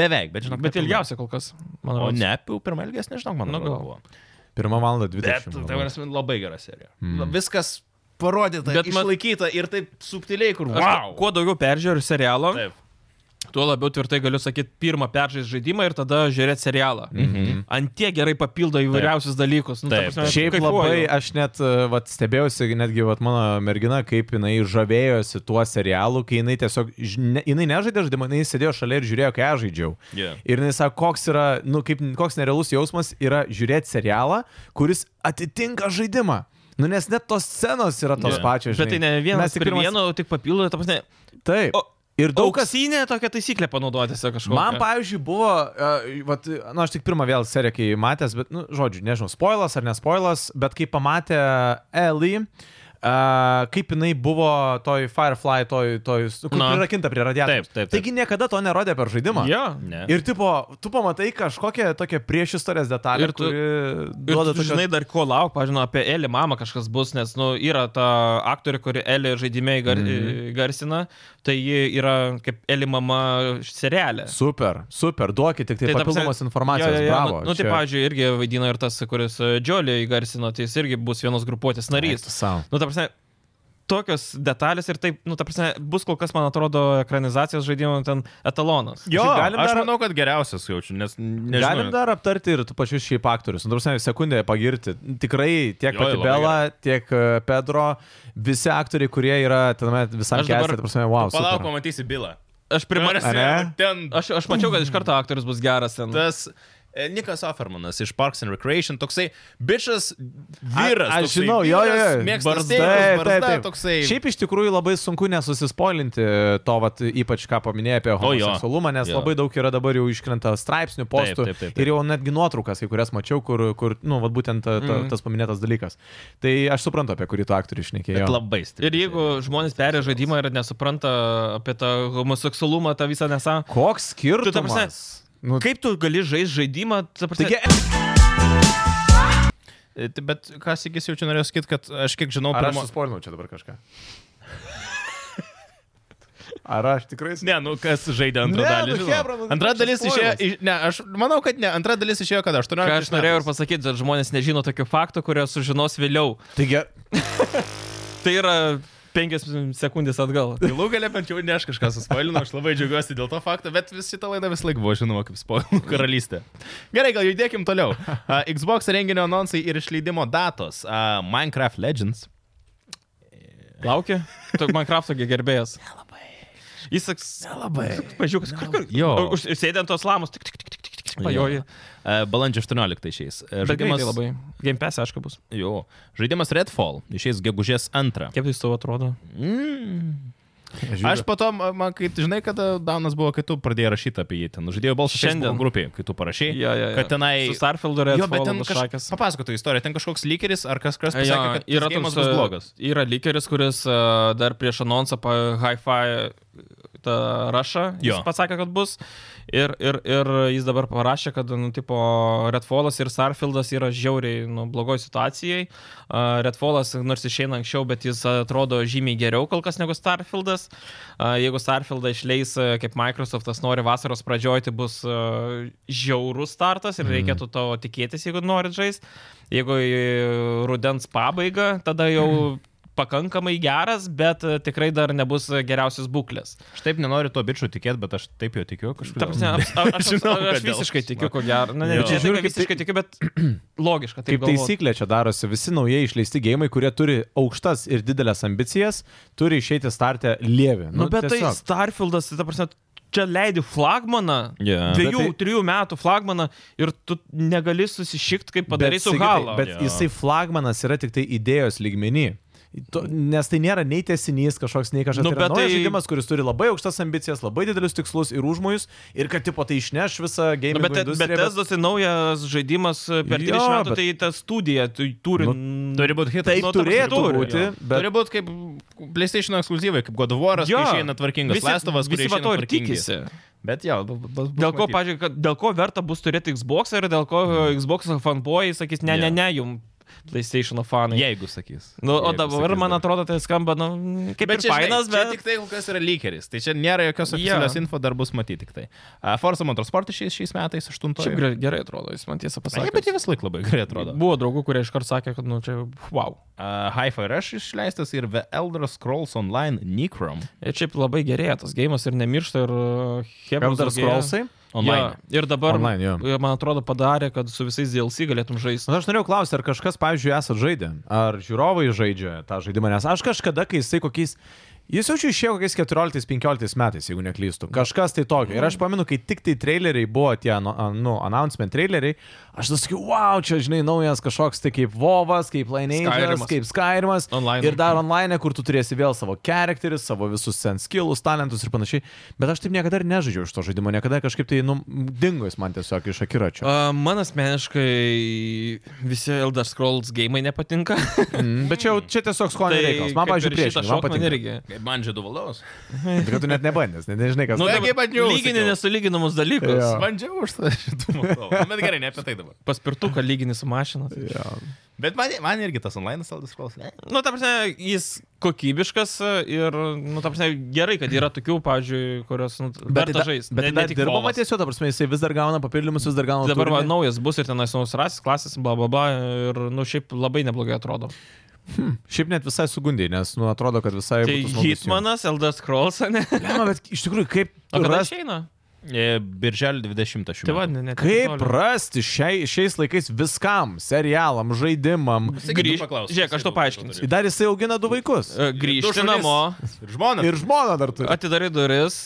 Beveik, bet žinok.
Bet
nepilna.
ilgiausia kol kas, manau.
O ne, piu, pirmą ilgesnį, nežinau, man
Nu,
atrodo,
gal.
buvo.
Pirmą valandą
Bet,
20.
tai prasme, labai gera serija. Mm. Viskas parodyta, bet
Bet man-
išlaikyta ir taip subtiliai, kur...
Aš,
Wow.
Kuo daugiau peržiūriu serialo,
Taip.
tuo labiau tvirtai galiu sakyti, pirmą peržais žaidimą ir tada žiūrėti serialą. Mhm. Antie gerai papildo įvairiausius dalykus. Nu, ta
Taip,
prasme,
taip.
Šiaip
kaifuoju.
labai aš net e, vat, stebėjausi, netgi vat, mano mergina, kaip jinai žavėjosi tuo serialu, kai jinai tiesiog, ž- ne, jinai nežaidė žaidimą, jinai sėdėjo šalia ir žiūrėjo, kai aš žaidžiau.
Yeah.
Ir jis sako, koks yra, nu, kaip, koks nerealus jausmas yra žiūrėti serialą, kuris atitinka žaidimą. Nu, nes net tos scenos yra tos
Jo.
pačios.
Bet tai
žinai.
ne vienas
Mes
tik pirmas... vieno, tik papildo, ta prasme.
Taip.
O,
ir daug kas
Daugkasinė tokia taisyklė panaudoti tiesiog kažkur.
Man, pavyzdžiui, buvo, uh, vat, nu, aš tik pirmą vėl seriją, kai matęs, bet, nu, žodžiu, nežinau, spoilas ar ne spoilas, bet kai pamatė Ellie, a, kaip jinai buvo toj Firefly, toj, toj, kur
Na.
prirakinta prie
Taip,
radiatoriaus.
taip, taip.
Taigi niekada to nerodė per žaidimą.
Ja.
Ne.
Ir tipo, tu pamatai kažkokią tokią priešistorės detalę,
Ir tu-
kuri
Ir
duoda
tu,
tokios-
žinai, dar ko lauk, pažinau, apie Elį mamą kažkas bus, nes, nu, yra ta aktorė, kuri Elį žaidimiai gar,
Mhm.
garsina, tai ji yra kaip Elį mama serialė.
Super, super, duokit tik tai,
ta
tai
prasme-
papildomos informacijos,
Jo, jo, jo,
bravo.
Nu, nu tai,
čia-
pavyzdžiui, irgi vaidina ir tas, kuris Džiolį įgarsino, tai jis irgi bus vienos grupuotės narys.
Eik tu sau.
Nu, ta prasme, tokios detalės ir taip, nu, ta prasme, bus kol kas, man atrodo, ekranizacijos žaidimo ten etalonas.
Jo,
Šiaip
aš
galim dar-
manau, kad geriausias jaučiu, nes nežinau.
Galim dar aptarti ir tu pačius šiaip aktorius. Nu, tarsi sekundę pagirti. Tikrai tiek
Jo,
pati
labai
Bela, tiek e, Pedro, visi aktoriai, kurie yra tename visam
Aš dabar-
kestui, ta prasme, wow.
Palauk,
super.
pamatysi bylą.
Aš primariu.
Ar ne?
Ten
Aš, aš mačiau, kad iš karto aktorius bus geras. Ten.
tas e, Nikas Offermanas iš Parks and Recreation, toksai bičias vyras.
A- aš
toksai
žinau, jo, jo, jo.
vyras, Mėgsta
Barzda,
stereotus,
taip,
barzda,
taip, taip.
toksai.
Šiaip iš tikrųjų labai sunku nesusispoilinti to, vat, ypač ką paminėjai apie
O jo.
homoseksualumą, nes
Jo.
labai daug yra dabar jau iškrenta straipsnių, postų
taip, taip, taip.
ir jau netgi nuotraukas, kai kurias mačiau, kur, kur nu, vat, būtent ta, ta,
Mhm.
tas paminėtas dalykas. Tai aš suprantu, apie kurį tu aktorių išnekėjai.
Bet labai stipriai.
Ir jeigu žmonės perė žaidimą ir nesupranta apie tą homoseksualumą, tą visą nesą.
Koks skirtumas?
Tu, ta prasme,
nu,
Kaip tu gali žaisti žaidimą? ta prasme-
Taigi,
E, tai Bet ką sikis jau čia norėjau sakyti, kad aš kiek žinau,
Ar
pirmo-
aš suspoilinau čia dabar kažką? Ar aš tikrai...
Ne, nu kas žaidė antrą
Ne,
dalį?
nu,
žinau.
chebra, nu,
antra
čia
dalis išėjo,
spoilas.
iš- ne, aš manau, kad ne, antra dalis išėjo, kad 18.
Ką aš norėjau ir
metais.
pasakyti, kad žmonės nežino tokių faktų, kurie sužinos vėliau.
Taigi,
Tai yra penkias sekundės atgal.
Galų galę bent jau ne aš kažką suspoilinau, aš labai džiaugiuosi dėl to fakto, bet vis šitą laidą vis laik buvo žinoma kaip spoilų karalystė. Gerai, gal judėkim toliau. A, Xbox renginio annonsai ir išleidimo datos. A, Minecraft Legends.
Laukia? Tu Minecraft'o gi gerbėjas. Nelabai. Jis saks.
Nelabai.
Pažiūrėk, kur, kur.
Jo.
Užsėdė ant tos lamos. Tik, tik, tik, tik, tik, tik. Pajoji.
A, Balandžio 18 išeis. A,
Žaidimas labai. Game Pass, aišku, bus.
Jo. Žaidimas Redfall išeis gegužės 2.
Kaip jis tau atrodo?
Mm. Aš
aš...
po to, ma- man, kai, žinai, kada Danas buvo, kai tu pradėjai rašyti apie jį ten. Žaidėjo balsą
Šiandien.
šiandien grupėje, kai tu parašai,
Jo, jo, jo.
kad tenai...
Su Starfieldu ir
Jo, bet ten
kažkas.
kažkas... Papasakotų istoriją, ten kažkoks lykeris ar kas kas pasakė,
Jo,
kad yra gėjimas bus
e,
blogas.
Yra likeris, kuris e, dar prieš anonsą pa hi-fi e, tą rašą
Jo.
jis pasakė, kad bus. Ir, ir, ir jis dabar parašė, kad nu, tipo, Redfallas ir Starfieldas yra žiauriai nu, blogoj situacijai. A, Redfallas nors išeina anksčiau, bet jis atrodo žymiai geriau kol kas negu Starfieldas. A, Jeigu Starfieldą išleis, a, kaip Microsoftas nori, vasaros pradžioj, tai bus a, žiaurus startas ir reikėtų to tikėtis, jeigu norit žaisti. Jeigu į rudens pabaigą, tada jau pakankamai geras, bet e, tikrai dar nebus e, geriausios būklės.
Aš taip nenoriu to bičiu tikėti, bet aš taip jo tikiu kažkaip.
Ta prasme, aš, aš, aš,
Žinau,
aš, aš
kodėl.
visiškai tikiu, ko gero. Na, ne,
Jo.
ne, tai,
Žiūrėkit,
kad visiškai tikiu, bet logiška. Taip
Kaip taisyklė čia darosi, visi naujai išleisti gėjimai, kurie turi aukštas ir didelės ambicijas, turi išeiti startę lievi.
Nu, bet tiesiog. tai Starfieldas, tai ta prasme, čia leidi flagmaną.
Jo.
Dviejų, tai...
Bet
trijų metų flagmaną ir tu negali susišikti, kaip padarai su
Sigitai,
galo.
tai- Bet
Jo.
jisai flagmanas yra tik tai idėjos lygmenį. To, nes tai nėra nei tiesinys kažkoks, nei kažkas.
Nu,
Nu, tai
bet
yra tai...
tai-
žaidimas, kuris turi labai aukštas ambicijas, labai didelius tikslus ir užmojus ir kad tipo tai išneš visą game.
Nu, bet bet, bet Teslas tai naujas žaidimas e, per
Jo,
30 metų,
bet-
bet... tai ta studija tu- turi... Nu,
Turi būti hitas.
Taip
nu, ta prasme,
turėtų
turi,
būti,
jo.
Bet...
bet
Turi būti kaip PlayStation ekskluzyvai, kaip God of War, kai
Jo.
išeina tvarkingas Lestovas, kuris
visi va
išeina
to ir
tvarkingi.
tikisi.
Bet jo, bu- bu- bus
Dėl ko,
matyt.
pažiūrėk, kad- dėl ko verta bus turėti Xbox ir dėl ko
Mm.
e, Xbox fanboy sakys, ne, ne,
Jo.
ne, jum PlayStation fanai.
Jeigu sakys.
Nu, o
Jeigu
dabar,
sakys
man
dabar.
atrodo, tai skamba, nu, kaip
Bet
bet
čia,
ir
žinai,
fainas,
čia
bet... nu,
tik tai kol kas yra lykeris. Tai čia nėra jokios oficialios
Jo.
yeah. info, dar bus matyti tik tai. Uh, Forza Motorsport šiais, šiais metais, 8.
Šiaip gerai- gerai atrodo, tai- jis man tiesą pasakė.
Sakė, bet jie vis laik labai gerai atrodo.
Buvo draugų, kurie iškart sakė, kad, nu, čia, wow.
Uh, Hi-Fi Rush išleistas ir The Elder Scrolls Online Necrom.
Ir šiaip labai gerėja tas gėjimas ir nemiršta ir uh, Hebrew.
Elder Scrollsai.
Online.
Ja, ir dabar,
Online, jo.
e, man atrodo, padarė, kad su visais DLC galėtum žaisti.
Na, aš norėjau klausti, ar kažkas, pavyzdžiui, esat žaidę, ar žiūrovai žaidžia tą žaidimą, nes aš kažkada, kai jisai kokiais Jis jau čia išėjo kokiais 14-15 metais, jeigu neklystu. Kažkas tai tokio. Ir aš pamenu, kai tik tai traileriai buvo tie, nu, nu, announcement traileriai, aš tas sakiau, wow, čia, žinai, naujas kažkoks tai kaip Vovas, kaip Lineage'as,
Skyrimas.
kaip Skyrimas.
Online.
Ir dar online, kur tu turėsi vėl savo charakterį, savo visus sen skillus, talentus ir panašiai. Bet aš taip niekada ir nežaidžiau iš to žaidimo, niekada kažkaip tai, nu, dingo jis man tiesiog iš akiračio.
A, Uh, Man asmeniškai visi Elder Scrolls gėjimai nepatinka. Tai
Mm, Bet čia jau čia tiesiog skonio reikalas. Man,
kaip ir
pavyzdžiui, prieš
šitą
man
šokman
patinka.
irgi.
Kaip man žiedų valdovas?
Bet kad tu net nebandęs, ne- nežinai, kas.
Nu,
Taigi
dabar
bandžiau,
Lygini
sakiau.
nesulyginamus dalykus.
Jo.
Bandžiau už tą žiedų valdovą. Nu, Bet gerai, ne apie tai dabar.
Paspirtuką lygini su mašina. Tai.
Bet man, man irgi tas online saldas klausimas.
Nu, ta prasme, jis kokybiškas ir, nu, ta prasme, gerai, kad yra tokių, pavyzdžiui, kurios, nu,
Bet
dar
tai da-
žais.
Bet tai dar dirbama tiesiog, ta prasme, jisai vis dar gauna papildymus, vis dar gauna.
Tai Dabar va, nu-
turinį.
naujas bus ir tenais naus rasis, klasės, bla bla bla. Ir, nu, šiaip labai neblogai atrodo.
Šiaip net visai sugundė, nes, nu, atrodo, kad visai...
Tai Hitmanas, Elder Scrolls, ne?
Lema, bet iš tikrųjų, kaip,
O kada
rast,
išeina?
E, Birželio 20 šių.
Tai vadin, ne.
kaip rasti šiai, šiais laikais viskam, serialam, žaidimam.
Grįž... Žiūrėk, aš to paaiškinsiu.
Ir dar jisai augina du vaikus.
Du šunis.
E, Grįžti namo,
Ir žmona.
Ir žmoną dar turi.
atidarai duris,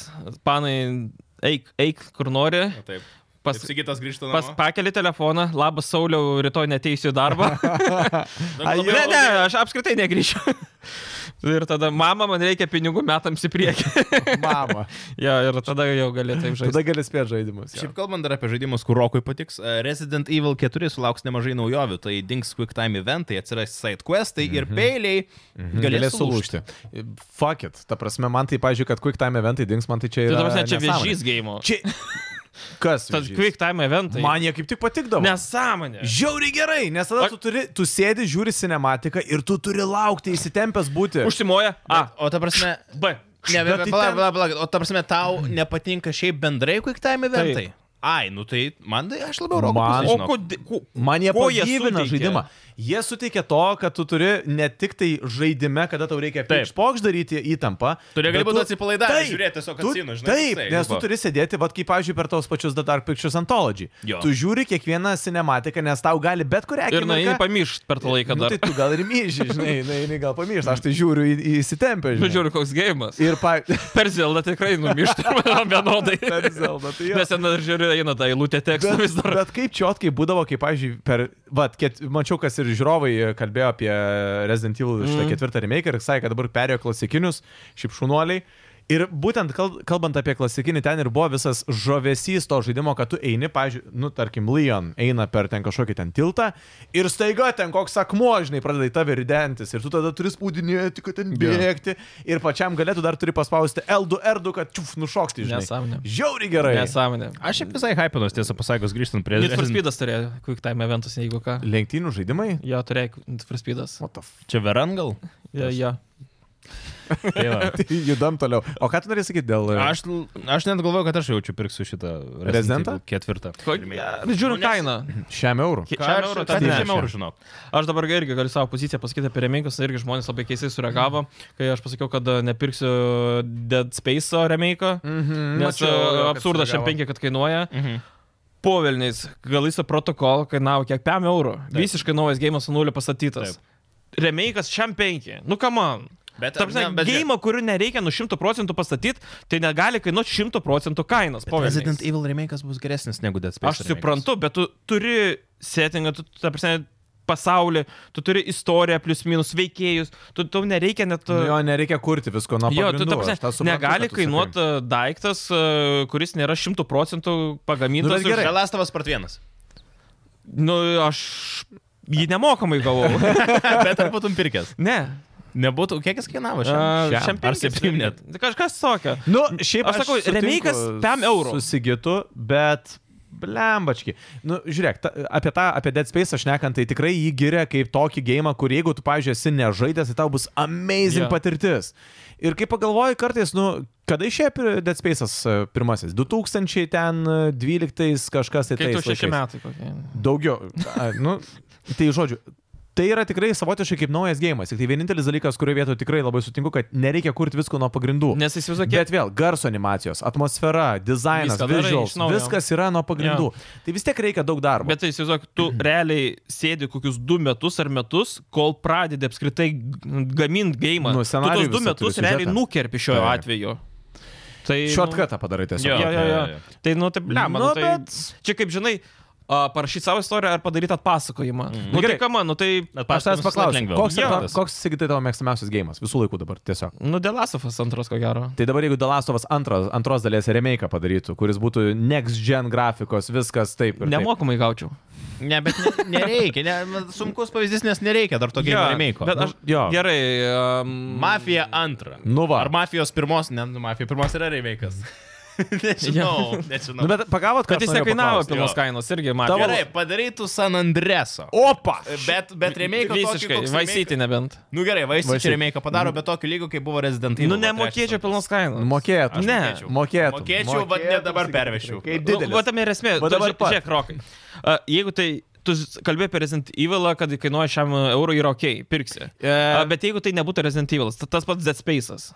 panai, eik, eik kur nori,
Na Taip.
pas,
Sigitas grįžta
pas pakeli telefoną, labas Sauliau, rytoj neteisiu į darbą.
Dabar nu, labai-
ne, ne, aš apskritai negrįšiu. ir tada, mama, man reikia pinigų metams į priekį.
Mama.
jo, ir tada jau galėtum žaisti.
Tada gali spėti žaidimus. jo.
Šiaip kalbant dar apie žaidimus, kur Rokui patiks, e, Resident Evil 4 sulauks nemažai naujovių, tai dings quick time eventai, atsiras side questai ir peiliai galės
Mhm. Galės
sulūžti.
sulūžti. Fuck it. Ta prasme, man tai, pažiūrėjau, kad quick time eventai dings, man tai čia
Tai
yra.
dabar čia
nesąmonė.
viežys gėjimo.
Čia. Kas?
Tas
vėžys?
quick tai- time eventai.
Man jie kaip tik patikdavo.
Nesąmonė.
Žiauriai gerai, nes tada
Ak-
tu, turi, tu sėdi, žiūri cinematiką ir tu turi laukti, įsitempęs būti.
Užsimoja. A.
O ta prasme,
B.
ne,
Bet
bet,
tai
pala,
ten-
pala, pala, o ta prasme, tau nepatinka šiaip bendrai quick time eventai. Ai, nu tai man tai aš labiau Rokui.
Man-
pusėj,
O
žinok.
kodėl?
Man jie
Ko jie
pagyvina
suteikia?
žaidimą. Jie suteikia to, kad tu turi ne tik tai žaidime, kada tau reikia
Taip.
pokš daryti įtampą.
Tu negali
bet
būti atsipalaidavęs,
Taip,
žiūrėti tiesiog
tu-
atsinu, žinai,
Taip,
toksai,
nes tu
va.
turi sėdėti, vad kaip, pavyzdžiui, per tos pačius The Dark Pictures Anthology.
Jo.
Tu žiūri kiekvieną cinematiką, nes tau gali bet kurią
Ir na, jį
akimirką.
pamiršt per tą laiką
nu,
dar.
tai tu gal ir myži, žinai, na, jinai gal pamiršta, aš tai žiūriu į, į įsitempę.
Nu, žiūriu, koks gėjimas.
Ir pa...
Per Zeldą tikrai numiršta man vienodai.
Per Zeldą, tai jo.
Nes ten dar žiūriu, eina ta eilutė teksto vis dar.
bet kaip čiotkai būdavo, kaip, pavyzdžiui, per... Vat, ket, mačiau, kas ir žiūrovai e, kalbėjo apie Resident Evil
Mhm.
šitą ketvirtą remake ir sakė, kad dabar perėjo klasikinius, šiaip šunuoliai. Ir būtent kal- kalbant apie klasikinį, ten ir buvo visas žavesys to žaidimo, kad tu eini, pavyzdžiui, nu, tarkim, Leon eina per ten kažkokį ten tiltą ir staiga ten koks akmuo, žinai, pradeda į tave ridentis ir tu tada turi spaudinėti, kad ten bėgti ir pačiam galėtų dar turi paspausti L2, R2, kad čiuf, nušokti, žinai.
Nesąmonė.
Žiauriai gerai.
Nesąmonė.
Aš šiaip visai hypinos, tiesą pasakius, grįžtant prie...
Net Fraspeedas turėjo Quick Time eventus, jeigu ką.
Lenktynių žaidimai?
Jo, turėjo Need for Speedas.
What the f...
Čia veran gal?
Jo, jo.
Tai va.
Judam toliau. O ką tu norėjai sakyti dėl... e,
Aš, aš net galvoju, kad aš jaučiu pirksiu šitą
Residentą?
Evil ketvirtą.
Ko- Bet Nu, Žiūriu kainą.
Šiam eurų.
Ki- šiam eurui
Ką
ten
aš
nešė.
žemiau žinau?
Aš dabar irgi galiu savo poziciją pasakyti apie remake'us, irgi žmonės labai keistai sureagavo, kai aš pasakiau, kad e, nepirksiu Dead Space'o remake'o,
Mhm,
nes
mačiau, jo,
e,
kad
absurdas šiam
sureagavo.
penki, kad kainuoja.
Mhm.
Povelniais, galiso protokol kainavo kiek 5 eurų. Visiškai naujas gėjimas su nuliu pastatytas. Remake'as šiam 5. Nu, kam man?
Bet,
Ta prasme,
ne, bet žiūrėk.
gėjimą, kurių nereikia nu 100 procentų pastatyti, tai negali kainuoti 100 procentų kainos. povelniais.
Resident Evil remake'as bus geresnis negu Dead Space.
Aš suprantu, bet tu turi settingą, tu, ta prasme, pasaulį, tu turi istoriją, plius minus veikėjus, tu tau nereikia net...
Nu, Jo, nereikia kurti visko nuo
Jo, tu,
pagrindų.
ta prasme,
Nu, aš tą suprantu,
negali
ką tu sakai.
kainuoti daiktas, e, kuris nėra šimtų procentų
Nu,
pagamintas.
bet
ir-
gerai.
Želastavas part vienas.
Nu, aš jį nemokamai gavau.
bet ar būtum pirkęs?
ne.
Nebūtų, kiek jis kainavo
A,
šiandien?
šiam
Ar
penkis
septyni net?
reikia. Kažkas tokio.
Nu, šiaip
Aš sakau,
sutinku
remake'as pem eurų.
Susigytų, bet... Blembački. Nu, žiūrėk, ta, apie tą, apie Dead Space aš nekant, tai tikrai jį giria kaip tokį gėjimą, kur jeigu tu, pažiūrėjai, esi nežaidęs, tai tau bus amazing
Jo.
yeah. patirtis. Ir kai pagalvoji kartais, nu, kada išėjo pir- Dead Space'as e, pirmasis? 2012 kažkas tai
Kai
tais
tu šeši
laikais.
metai kokie.
Daugiau. A, nu, tai žodžiu, Tai yra tikrai savotiškai kaip naujas gėjimas. Tik tai vienintelis dalykas, kurio vietoje tikrai labai sutinku, kad nereikia kurti visko nuo pagrindų.
Nes įsivaizduok,
Bet vėl, garso animacijos, atmosfera, dizainas,
Viską darai
visuals,
iš naujo.
viskas yra nuo pagrindų. Tai vis tiek reikia daug darbo.
Bet tai įsivaizduok, tu realiai sėdi kokius du metus ar metus, kol pradedi apskritai gaminti gėjimą.
Nu, scenarijų
tu tos du
visą
metus
turi,
realiai
siužetą.
nukerpi šio
Taip.
atveju. Tai,
Šotkartą padarai tiesiog.
Jo, jo, jo, jo.
Jo, jo, jo.
Tai, nu, taip, lemma. Nu,
Nu,
tai,
bet-
Čia kaip žinai, a, parašyt savo istoriją ar padaryt atpasakojimą. Mm. Nu,
Gerai.
tai ką man, nu, tai...
Aš tavęs paklausiu, koks,
Jo.
ja, koks Sigitai tavo mėgstamiausias gėjimas visų laikų dabar tiesiog.
Nu, Delasovas antras, ko gero.
Tai dabar jeigu Dalastovas antros, antros dalies remake padarytų, kuris būtų next gen grafikos, viskas taip. ir taip.
Nemokamai gaučiau.
Ne, bet ne, nereikia. Ne, sunkus pavyzdys, nes nereikia dar tokio
Jo,
yeah, remake.
Bet
Nu,
aš...
jo.
Gerai. Um,
Nu, Mafija antra.
Nu va.
Ar mafijos pirmos, ne, nu, mafija pirmos yra remake'as. nežinau,
Nu,
nežinau.
bet pagavot, kad
Bet jis nekainavo
paklaust,
pilnos
jo.
kainos, irgi man.
Gerai, padarytų San Andreso.
Opa!
Bet, bet remake'ą
Visiškai,
Vaisyti.
vaisyti nebent.
Nu gerai,
Vice
Vaisyti
City.
remake'ą padaro, bet tokio lygio, kaip buvo Resident Evil.
Nu, nemokėčiau pilnos
Nu,
kainos.
Mokėtų.
Aš ne.
mokėčiau.
Mokėtų.
Mokėčiau, bet ne dabar pervešiau.
Kaip
Nu, va
didelis.
tame ir esmė.
Va
Tu
dabar
ži-
pat.
Žiūrėk, rokai. A, Jeigu tai... Tu s- kalbėjai apie Resident Evil, kad kainuoja šiam eurui yra ok, pirksi. A, Bet jeigu tai nebūtų Resident Evil, tas pats Dead Space'as.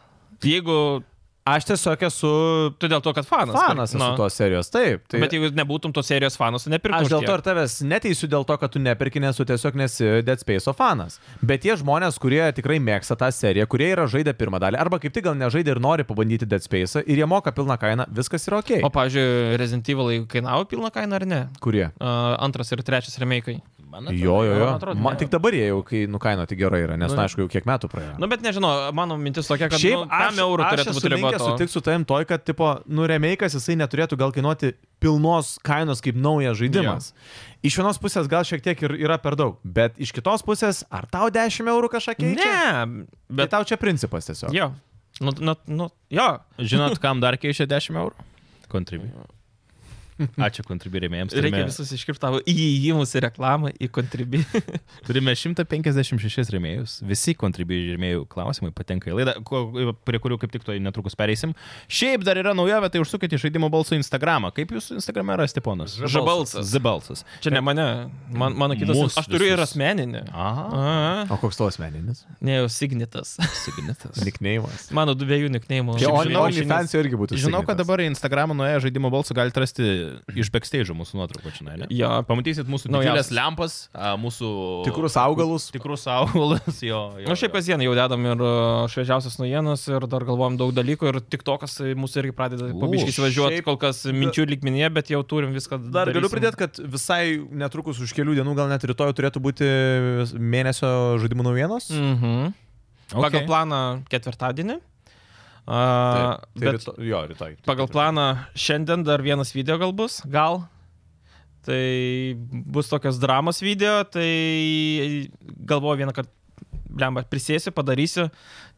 Jeigu
Aš tiesiog esu
tu dėl to, kad fanas.
fanas
pirk-
esu
nu,
tos serijos, taip. Tai
Bet jeigu nebūtum tos serijos fanas, tai
aš
nepirktum.
dėl
už
to
tiek.
ir tavęs neteisiu dėl to, kad tu neperki, nes tu tiesiog nesi Dead Space fanas. Bet tie žmonės, kurie tikrai mėgsta tą seriją, kurie yra žaidę pirmą dalį, arba kaip tik gal nežaidė ir nori pabandyti Dead Space ir jie moka pilną kainą, viskas yra ok.
O, pavyzdžiui, Resident Evil kainavo pilną kainą ar ne?
Kurie?
A, Antras ir trečias remake'ai.
Man atrodo,
Jo, jo, jo.
tai man atrodo,
Man,
ne.
tik dabar jie jau, kai nukaino, tai gerai yra, nes, na, aišku, jau kiek metų praėjo.
Nu, bet nežinau, mano mintis tokia, kad...
Šiaip
nu, tam eurų turėtų būti
linkęs
ribotas.
sutiks su tavim toj, kad, tipo, nuremeikas jisai neturėtų gal kainuoti pilnos kainos kaip naujas žaidimas. Yeah. Iš vienos pusės gal šiek tiek ir yra per daug, bet iš kitos pusės, ar tau 10 eurų kažką keičia?
Ne,
Bet
bet...
tau čia principas tiesiog.
Jo. Nu, nu, nu, jo.
Žinot, kam dar keičia 10 eurų? Kontribi. Ačiū kontribi rėmėjams.
Reikia
Turime,
visus iškirptavo įėjimus į reklamą, į kontribį.
turime 156 rėmėjus. Visi kontribi rėmėjų klausimai patenka į laidą, ko- prie kurių kaip tik to netrukus pereisim. Šiaip dar yra naujovė, tai užsukite į žaidimo balsų Instagramą. Kaip jūs Instagrame rasite ponas?
Žabalsas.
Zibalsas.
Čia ne mane, man, mano kitas.
Mus
aš turiu ir
visus.
asmeninį.
Aha.
Aha.
O koks tavo asmeninis?
Ne, jau signitas.
Signitas.
Nikneimas.
Mano dviejų nikneimų.
Čia
Šiaip žinau,
OnlyFans irgi būtų.
Žinau, kad
signitas.
dabar į Instagramą nuėję žaidimo balsų galite rasti iš backstage mūsų nuotraukų čia, ne?
Jo,
Pamatysit mūsų
Naujausias.
naujas lempas, a, mūsų...
Tikrus augalus.
Tikrus augalus, jo. jo
Na, nu, šiaip
jo.
kasdien jau dedam ir uh, šviežiausias naujienas, ir dar galvojam daug dalykų, ir tik tokas mūsų irgi pradeda
U,
pabiškis važiuoti,
šiaip-
kol kas minčių lygmenyje, bet jau turim viską.
Dar galiu
darysim.
pridėti, kad visai netrukus už kelių dienų, gal net rytoj turėtų būti mėnesio žaidimų naujienos.
Mhm. Okay. Pagal
Ok.
planą ketvirtadienį. Uh,
Taip, tai
bet
ryto, jo, rytoj.
Pagal planą šiandien dar vienas video gal bus, gal. Tai bus tokios dramos video, tai galvoju vieną kartą, blemba, prisėsiu, padarysiu.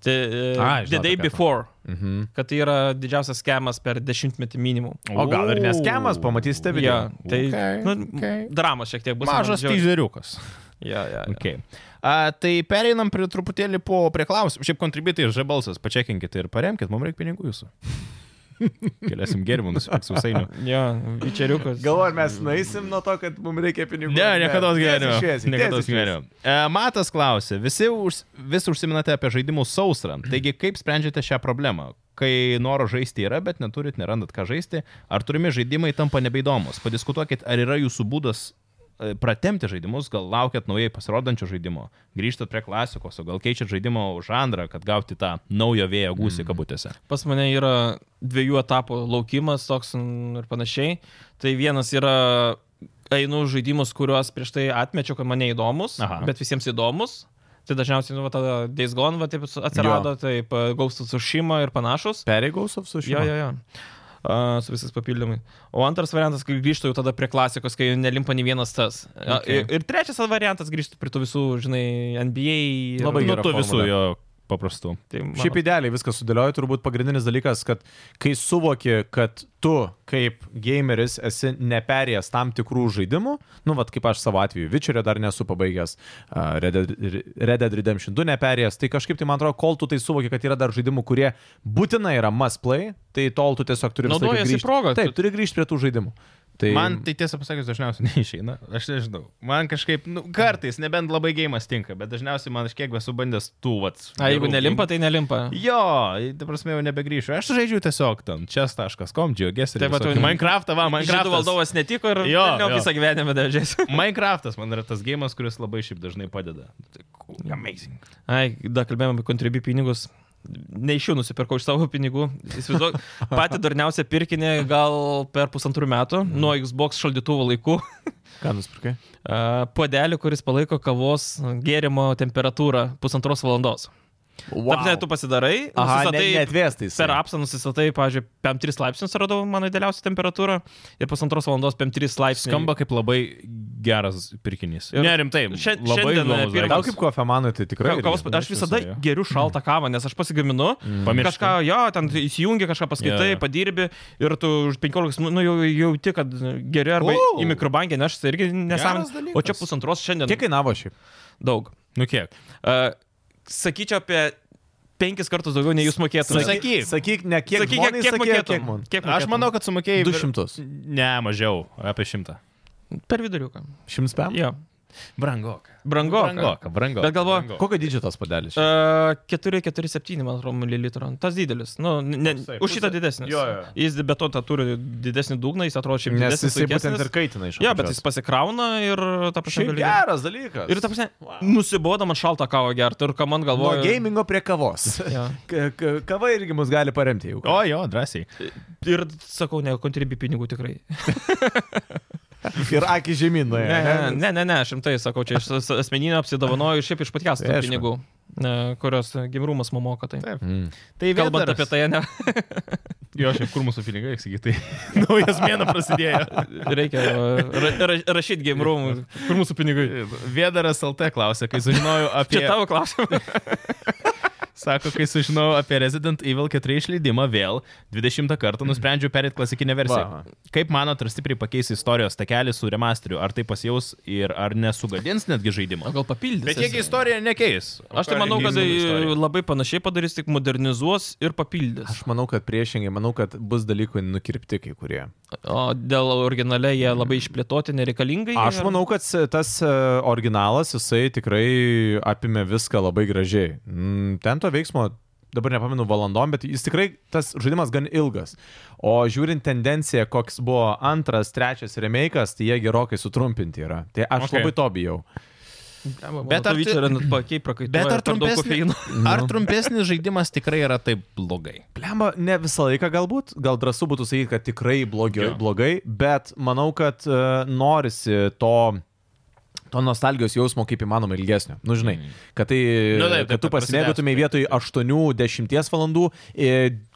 Tai,
Ai, žinau,
uh, the day
tokią.
before,
Mhm.
kad tai yra didžiausias skemas per dešimtmetį minimum.
O gal ir neskemas, pamatysite video.
Ja, tai
Okay,
okay, nu, okay.
okay.
dramos šiek tiek bus.
Mažas
man žiauriai-
tyžeriukas.
Ja, ja, ja.
Okay. A, tai pereinam prie truputėlį po prie klausimų. Šiaip kontribitai ir žabalsas, pačekinkit ir paremkit, mums reikia pinigų jūsų. Keliasim gėrimų, nusipirksiu sausainių.
Ja, vičeriukas.
Galvoju, ar mes naisim nuo to, kad mums reikia pinigų.
Ne, niekada gyvenime.
Tiesiai šviesiai,
Niekada
tiesiai šviesiai.
gyvenime. E, Matas klausė, visi už, vis užsiminate apie žaidimų sausrą. Taigi, kaip sprendžiate šią problemą? Kai noro žaisti yra, bet neturit, nerandat ką žaisti, ar turimi žaidimai tampa nebeįdomus? Padiskutuokit, ar yra jūsų būdas e, pratemti žaidimus, gal laukiat naujai pasirodančio žaidimo, grįžtat prie klasikos, o gal keičiat žaidimo žanrą, kad gauti tą naujo vėjo gūsį
Mm.
kabutėse.
Pas mane yra dviejų etapų laukimas toks mm, ir panašiai. Tai vienas yra einu žaidimus, kuriuos prieš tai atmečiau, kad mane įdomus,
Aha.
Aha. bet visiems įdomus. Tai dažniausiai, nu, va, tada Days Gone, va, taip atsirado, jo. taip, e, Gaustų sušyma ir panašus.
Pereigaus apsušė.
Jo, jo, jo. Uh, su visais papildymai. O antras variantas, kai grįžtų jau tada prie klasikos, kai nelimpa nei vienas tas. Okay.
Okay.
Ir, ir trečias variantas grįžtų prie tų visų, žinai, NBA. Ir,
Labai
Nu,
gera
to visų
formulė.
jo paprastų.
Tai, mano,
Šiaip idealiai viskas sudėlioja, turbūt pagrindinis dalykas, kad kai suvoki, kad tu kaip gameris esi neperėjęs tam tikrų žaidimų, nu, vad kaip aš savo atveju, Vičerio dar nesu pabaigęs, a, Red Dead- Red Dead Redemption 2 neperėjęs, tai kažkaip tai man atrodo, kol tu tai suvoki, kad yra dar žaidimų, kurie būtinai yra must play, tai tol tu tiesiog turi visą laiką
Naudojiesi
grįžti.
proga.
Taip, turi grįžti prie tų žaidimų.
Tai
Man tai tiesą pasakius dažniausiai neišeina, aš nežinau. Man kažkaip, nu, kartais, nebent labai gėjimas tinka, bet dažniausiai man aš kiek esu bandęs tų vats.
A, jeigu
gerų
nelimpa, tai nelimpa.
Jo, ta prasme jau nebegrįšiu. Aš žaidžiu tiesiog tam chess.com, džiaugiasi.
Taip, va, tu-
Minecraftą, va,
Žydų
Minecraftą.
valdovas netiko ir
Jo,
velniop
jo.
visą gyvenimą dažėsi.
Minecraftas man yra tas gėjimas, kuris labai šiaip dažnai padeda. Tai cool, Amazing.
Ai, dar kalbėjome apie kontribį pinigus. Ne iš jų nusipirkau iš savo pinigų. Įsivaizduok, pati durniausia pirkinė gal per pusantrų metų nuo Xbox šaldytuvo laikų.
Ką nusipirkai?
A, Puodelį, kuris palaiko kavos gėrimo temperatūrą pusantros valandos. Wow. Taip, ne, tu pasidarai,
Aha, ne,
nusistatai-
neatvėstai.
Per apsą nusistatai, pavyzdžiui, PM3 laipsnius radau mano idealiausią temperatūrą ir pusantros valandos PM3 laipsnius.
Skamba kaip labai geras pirkinys.
Ir
Ne, rimtai.
šia-
labai
šiandien
įdomus
pirmas-
Tau
dalykas.
kaip kofemanui tai tikrai.
Ka- Kavos, aš visada
jo.
geriu šaltą kavą, nes aš pasigaminu,
Pamiršti.
kažką jo, ten įsijungi, kažką
Jo,
paskaitai,
jo.
padirbi ir tu už 15 minučių nu, jau jauti, kad geri arba
Wow.
į mikrobangę nešasi tai irgi
Geras
nesąmonė.
dalykas.
O čia pusantros šiandien.
Kiek kainavo šiaip?
daug?
Nu kiek?
Uh, sakyčiau apie penkis kartus daugiau, nei jūs mokėtumėte.
Sakyk, Sakyk.
Sakyk, ne kiek.
Sakyk,
žmonai
kiek
sakė,
mokėtum?
kiek man.
Kiek
Aš
mokėtum?
manau, kad sumokėjai.
Du
vir-
šimtus.
Ne, mažiau. Apie šimtą.
Per viduriuką.
Šimts pem?
Jo.
Brangoka.
Brango.
Brangoka, brangoka.
Bet galvoju,
brangoka.
Kokio didžio tas padelis?
447, man atrodo, mililitrų. Tas didelis. Nu, ne,
Toksai,
už šitą
pusė.
didesnis.
Jo, jo.
Jis be to tą turi didesnį dugną, jis atrodo šiaip
Nes
didesnis.
jisai būtent
sunkesnis.
ir kaitina iš
Jo, bet jis pasikrauna ir tą pačią
Šiaip geras dalykas.
Ir ta prasme, nusibodama šaltą kavą gerti ir ką man
Nuo
galvoja.
gamingo prie kavos.
Jo.
K- k- Kava irgi mus gali paremti jau.
O jo, drąsiai.
Ir sakau, ne, kontribi pinigų tikrai.
Ir akį žemyn. nuėjo,
Ne,
ne?
ne, ne, ne, šimtai sakau, čia iš as- asmeninio apsidavanoju ir šiaip iš paties tų
Aišku.
pinigų, e, kurios gimrumas momoka. Tai.
Taip.
Mm.
Tai
Kalbant apie tai, ne,
Jo, šiaip kur mūsų pinigai, sakytai. Naujas mėnuo prasidėjo.
reikia e, ra ra rašyti gimrumų. Kur mūsų pinigai?
Vėdaras LT klausė, kai sužinojau apie...
Čia tavo klausimas.
Sako, kai sužinojau apie Resident Evil 4 išleidimą vėl, 20 kartą
Mhm.
nusprendžiau perėti klasikinę versiją.
Va.
Kaip manot, ar stipriai pakeis istorijos takelį su remasteriu? Ar tai pasijaus ir ar nesugadins netgi žaidimą?
O gal papildys?
Bet jeigu istorija nekeis.
Aš tai manau, kad tai labai panašiai padarys, tik modernizuos ir papildys.
Aš manau, kad priešingai, manau, kad bus dalykų nukirpti kai kurie.
O dėl originaliai jie labai išplėtoti nereikalingai.
Aš
ir-
manau, kad s- tas e, originalas, jisai tikrai apimė viską labai gražiai. Mm, Ten to veiksmo, dabar nepamenu valandom, bet jis tikrai, tas žaidimas gan ilgas. O žiūrint tendenciją, koks buvo antras, trečias remake'as, tai jie gerokai sutrumpinti yra. Tai
Okay.
aš okay. labai to bijau.
Bet ar
tu-
tai yra net pakiai prakaituoja.
Bet ar
per daug
trumpesnė-
kofeino?
Ar trumpesnis žaidimas tikrai yra taip blogai?
Blemba, ne visą laiką galbūt, gal drąsu būtų sakyti, kad tikrai blogio,
Jo.
blogai, bet manau, kad uh, norisi to, to nostalgijos jausmo kaip įmanoma ilgesnio. Nu, žinai, kad, tai,
Nu,
nu,
taip,
taip,
taip,
kad tu
kad
pasimėgautumai vietoj 8-10 valandų į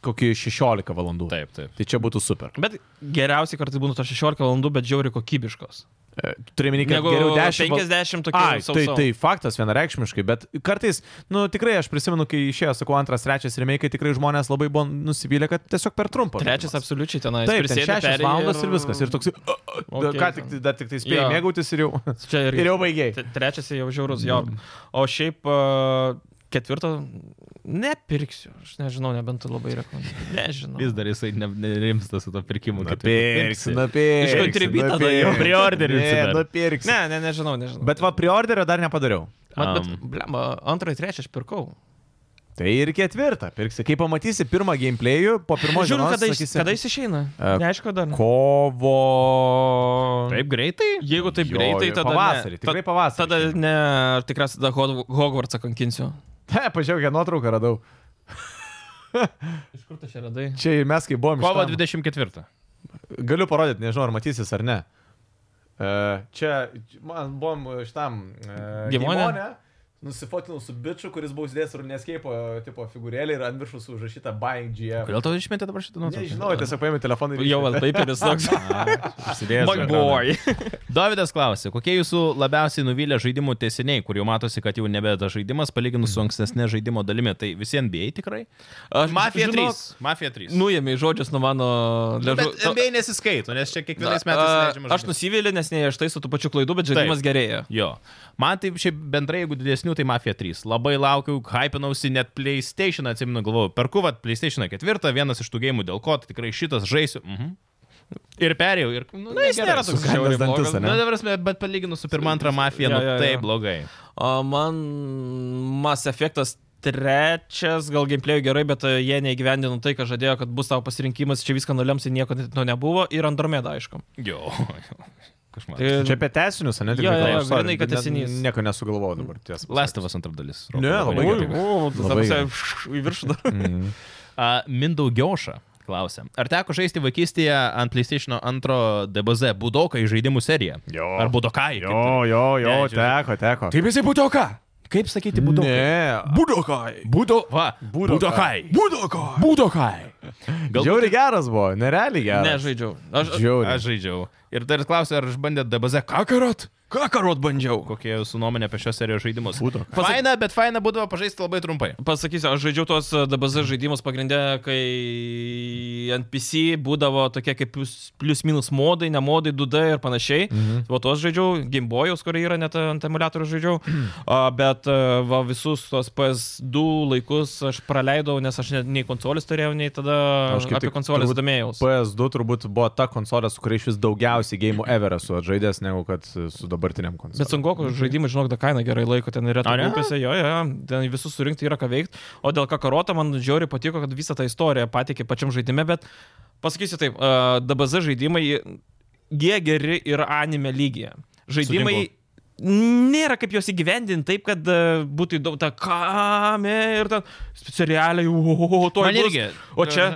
kokį 16 valandų.
Taip, taip.
Tai čia būtų super.
Bet geriausiai kartais būna tos 16 valandų, bet žiauriai kokybiškos.
E, Turime minėti, kad
Negu
geriau 10 val-
50 tokių.
Ai,
sau-
tai,
sau.
tai faktas vienareikšmiškai, bet kartais, nu tikrai aš prisimenu, kai išėjo, sakau, antras, trečias remake, tikrai žmonės labai buvo nusivylę, kad tiesiog per trumpas.
Trečias absoliučiai tenai.
Taip, ten šešias valandas ir viskas. Ir toks, okay, ką tik, tai- dar tik tai spėjai
Jo.
mėgautis ir jau,
Čia
ir
ir
jau Mm. baigiai.
Te- Trečias jau žiaurus, jo. O šiaip a, ketvirto nepirksiu. Aš nežinau, nebent tu labai rekomenduoju. Nežinau.
Vis dar jisai ne- nerimsta su to pirkimu. kaip
Pirksi, nupirksi.
Iš kontribito tada jau
nupirksi.
priorderį
Ne,
užsidar.
nupirksi.
Ne, ne, nežinau, nežinau.
Bet va, priorderio dar nepadariau.
Mat, bet,
Am.
blem, antrą ir trečią aš pirkau.
Tai ir ketvirtą pirksi. Kai pamatysi pirmą gameplay'ų, po pirmo
Žiūrėjau,
žiūrėjau,
kada, jis- kada jis išeina.
E,
Neaišku dar.
Kovo.
Taip greitai?
Jeigu taip
Jo,
greitai,
jo,
tada.
pavasarį,
ne.
tikrai
Ta-
pavasarį
Tada ne, ar tikras tada Hog- Hogwartsą kankinsiu.
Ne, pažiūrėjau, kokią nuotrauką radau.
Iš kur tu čia radai?
Čia ir mes, kai buvome. iš
Kovo
tam.
24.
Galiu parodyti, nežinau, ar matysis ar ne. E, Čia man buvom šitam e,
Gimone?
gimone, nusifotinau su bičiu, kuris buvo uždėjęs runescape tipo figūrėlį ir ant viršus užrašyta Buying GF.
Kodėl tau išmetė dabar šitą nuotrauką?
Nežinau, tiesiog paėmė telefoną ir
Jau Alpaiperis toks. My boy.
Davidas klausė, kokie jūsų labiausiai nuvylę žaidimų tesiniai, kur jau matosi, kad jau nebe tas žaidimas, palyginus su ankstesnė žaidimo dalimi, tai visi NBA tikrai?
Aš
Mafija
žinok, nu,
3. Mafija 3.
Nuėmė žodžius nuo mano
Nu, bet
ležu. Ta-
NBA nesiskaito, nes čia kiekvienais
Na,
metais
a,
leidžiama.
Aš nusivylė, nes ne aš tai su tų pačių klaidų, bet žaidimas gerėja.
Jo. Man tai šiaip bendrai, jeigu didesnių, tai Mafija 3. Labai laukiau, hypinausi net PlayStation, atsiminu, galvojau, perku, vad, PlayStation 4, vienas iš tų gėjimų, dėl ko, tai tikrai šitas žaisiu. Mhm. Ir perėjau. Ir, nu,
Na, jis nėra toks žiauriai
Sukandęs dantis,
blogas.
ane?
Na, dabar prasme, bet palyginus su pirma, antra mafija, nu
Jo, jo, jo.
tai blogai.
A, Man Mass Effectas trečias, gal gameplay gerai, bet e, jie neįgyvendino tai, ką žadėjo, kad bus tavo pasirinkimas, čia viską nulems ir nieko net to nebuvo. Ir Andromeda, aišku.
Jo. Kažmaras.
Tai-
Čia apie tesinius, tai ne?
Jo, jo, grynai, kad tesinys.
Nieko nesugalvojau dabar tiesą.
Lastovas antra dalis. Rokai,
Ne, labai
gerai.
gerai.
O, tas
Labai
ta prasme, į viršų dar.
A, Mindaugioša klausia. Ar teko žaisti vaikystėje ant PlayStation 2 DBZ Budokai žaidimų seriją?
Jo.
Ar Budokai? kaip
Jo, jo, jo,
Ne, čia-
teko, teko.
Taip jisai būtų ką?
tai- Kaip sakyti Budokai?
Ne.
Būdokai.
Budo... Va, Budokai.
Budokai.
Būdokai. Būdokai.
Gal-
Žiauri geras buvo, nerealiai geras.
Nežaidžiau. Aš,
Žiauri.
Aš žaidžiau. Ir dar klausia, ar išbandėt DBZ Kakarot?
Kakarot bandžiau.
Kokia jūsų nuomonė apie šios serijos žaidimus?
Budokai.
Faina, bet faina būdavo pažaisti labai trumpai.
Pasakysiu, aš žaidžiau tos e, DBZ žaidimus pagrindę, kai ant PC būdavo tokie kaip plius, plius minus modai, ne modai, 2D ir panašiai. Mhm. O tos žaidžiau, Gimbojus, kurie yra net ant emulatorių žaidžiau.
Mhm.
A, bet e, va, visus tos PS2 laikus aš praleidau, nes aš net nei konsolės turėjau, nei tada
Aš kaip
apie
tik
konsolės
turbūt
domėjausi.
PS2 turbūt buvo ta konsolė, su kuria iš vis daugiausiai gėjimų ever esu atžaidęs, negu kad su dabartiniam
Bet
konsolė.
Sungoku žaidimai, žinok, da kaina gerai laiko, ten yra
Ar ne?
trupėse, jo, jo, jo, ten visus surinkti yra ką veikti. O dėl Kakaroto man žiauriai patiko, kad visą tą istoriją patikė pačiam žaidime, bet pasakysiu taip, uh, DBZ žaidimai, jie geri yra anime lygyje. Žaidimai
Sutinku.
nėra kaip juos įgyvendinti taip, kad e, būtų įdomu tą kamę ir tą specialiai, o to
Man irgi.
O čia...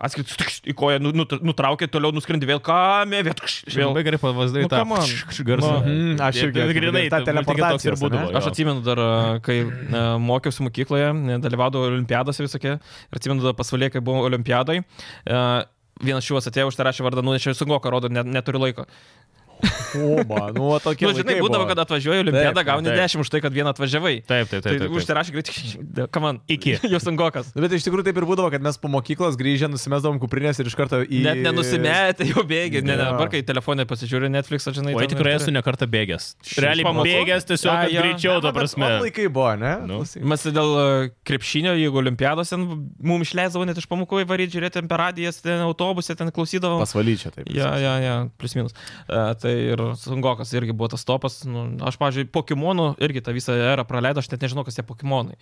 Atskirti į koją, nu- nut- nutraukė, toliau nuskrendi vėl kamė, vėl... vėl.
Labai gerai pavazdai
Nu,
tą
come on.
garsą.
Nu,
mm, aš irgi atsimenu,
Grinai,
ta
ta teleportacija
teleportacijos,
ir būdavo.
ane?
jo.
Aš atsimenu dar, a, kai a, mokiausi mokykloje, a, dalyvaudavau olimpiadose visokie, ir atsimenu dar pasvalė, kai buvau olimpiadai. a, Vienas šiuos atėjo, užsirašė vardą, nu, čia sunkoka, rodo, net, neturiu laiko.
Nu,
Oba, nu, o tokie.
Na, nu, žinai,
laikai
būdavo,
buvo.
kad atvažiuoji į olimpiadą,
Taip,
gauni
taip.
10 už tai, kad vieną atvažiavai.
Taip, taip, taip.
Tai
taip, taip.
užsirašė greitai, kam man,
Iki.
jau sunkokas.
Nu, bet iš tikrųjų taip ir būdavo, kad mes po mokyklos grįžę nusimesdavom kuprinės ir iš karto į...
Net nenusimetė, jau bėgi, ne, ne,
Jo.
dabar, kai telefonai pasižiūri Netflixą, žinai.
Oi,
ten
tikrai
ir
esu
turi.
nekartą bėgęs.
Šiaip
Realiai
pamokų?
bėgęs tiesiog
Ai,
kad
jo.
Nu,
greičiau, to prasme.
O laikai buvo, ne?
Nu.
Klausyk.
Mes dėl e, krepšinio, jeigu olimpiados, mums išleisdavo net iš pamokų įvaryti, žiūrėti ten per radijas, ten autobuse, ten klausydavom.
Pasvalyčia taip.
Ja, ja, ja, plus minus. Uh, tai ir Sungokas irgi buvo tas topas. Nu, aš, pažiūrėjau, Pokemonų irgi tą visą erą praleidau, aš net nežinau, kas tie Pokemonai.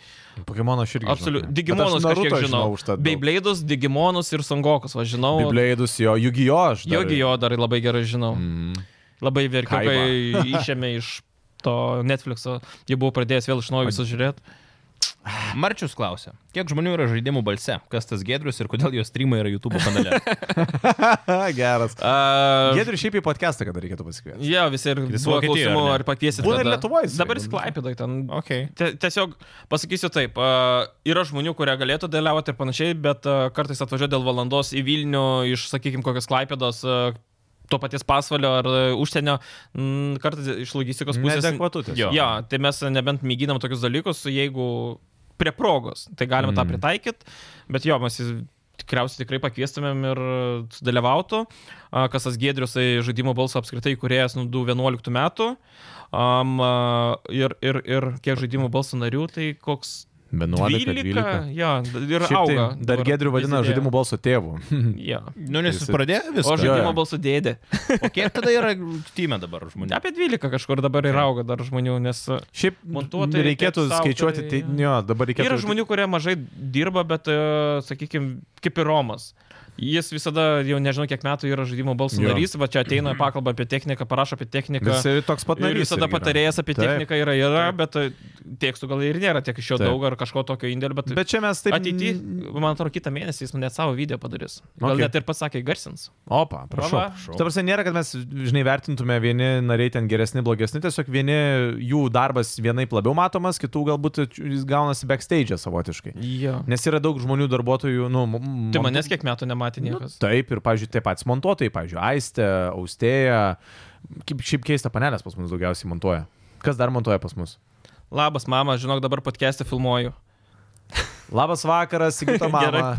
Pokemono aš irgi.
Absoliučiai. Digimonus kažkiek žinau. Beibleidus, Digimonus ir Sungokus, aš žinau.
Bibleidus jo, Jugijo aš. dar-
Jogi jo dar labai gerai žinau.
Mhm.
Labai verkiau, kai išėmė iš to Netflixo, jie buvo pradėjęs vėl iš naujo visus žiūrėti.
Marčius klausia, kiek žmonių yra žaidimų balse, kas tas Gedrius ir kodėl jo streamai yra YouTube kanale.
Ha, Geras.
Uh,
Gedriu šiaip į podcastą, kada reikėtų pasikviesti.
Jie E, visi ir
Jis
buvo
Vokietijoj,
klausimų,
ar ne?
ar pakviesit.
Būna ir
tada.
Lietuvoj jisai.
Dabar sklaipėdai ten.
okay.
Te, tiesiog pasakysiu taip, a, yra žmonių, kurie galėtų dalyvauti ir panašiai, bet a, kartais atvažiuoja dėl valandos į Vilnių iš, sakykime, kokios Klaipėdos, a, to paties pasvalio ar a, užsienio, m, kartais iš logistikos pusės.
Neadekvatu tiesiog.
Jo.
Ja, tai mes nebent mėginam tokius dalykus, jeigu prie progos, tai galime
Mhm.
mm. tą pritaikyti, bet jo, mes jį tikriausiai tikrai pakviestumėm ir e, sudalyvautų. A, Kas tas Gedrius, tai žaidimo balsas apskritai, kuriejas nuo 2011 metų. Um, a, ir, ir, ir kiek žaidimo balsų narių, tai koks
11,
12,
12.
ja, d- ir
Nu, Šiaip tai
auga.
Dar Gedriu vadina žaidimų balso tėvu.
Ja.
Nu, nes jis
Jisai-
pradėjo
O
viską.
žaidimo
Jo.
balsų dėdė.
O kiek tada yra tyme dabar žmonių?
Apie 12 kažkur dabar ir auga dar žmonių, nes e,
Šiaip
Montuotojai,
reikėtų
tekstų
skaičiuoti, tai,
autoriai,
jo, dabar reikėtų.
Yra žmonių, kurie mažai dirba, bet, sakykime, kaip ir Romas. Jis visada, jau nežinau, kiek metų yra žaidimo balsų
Jo.
narys, va čia ateina, pakalba apie techniką, parašo apie techniką.
Jis toks pat
Ir
narys.
visada
irgi yra.
patarėjas apie
Taip.
techniką yra, yra bet e, tekstų gal ir nėra tiek iš jo
Taip.
daug ar kažko tokio indėlio, bet,
Bet čia mes taip.
bet ateityje, man atrodo, kitą mėnesį jis net savo video padarys. Gal
Okay.
okay. net ir pasakė, garsins.
Opa, prašau.
Va, va.
Ta prasme, nėra, kad mes, žinai, vertintume vieni nariai ten geresni, blogesni, tiesiog vieni jų darbas vienaip labiau matomas, kitų galbūt jis gaunasi backstage e savotiškai.
Jo.
Nes yra daug žmonių darbuotojų, nu, m- m-
Tai manęs kiek metų nematė
Nu,
niekas.
Taip, ir, pavyzdžiui, tie patys montuotojai, pavyzdžiui, Aistė, Austėja, kaip šiaip keista panelės pas mus daugiausiai montuoja. Kas dar montuoja pas mus?
Labas, mama, žinok, dabar podcast'ą filmuoju.
Labas vakaras, Sigita mama.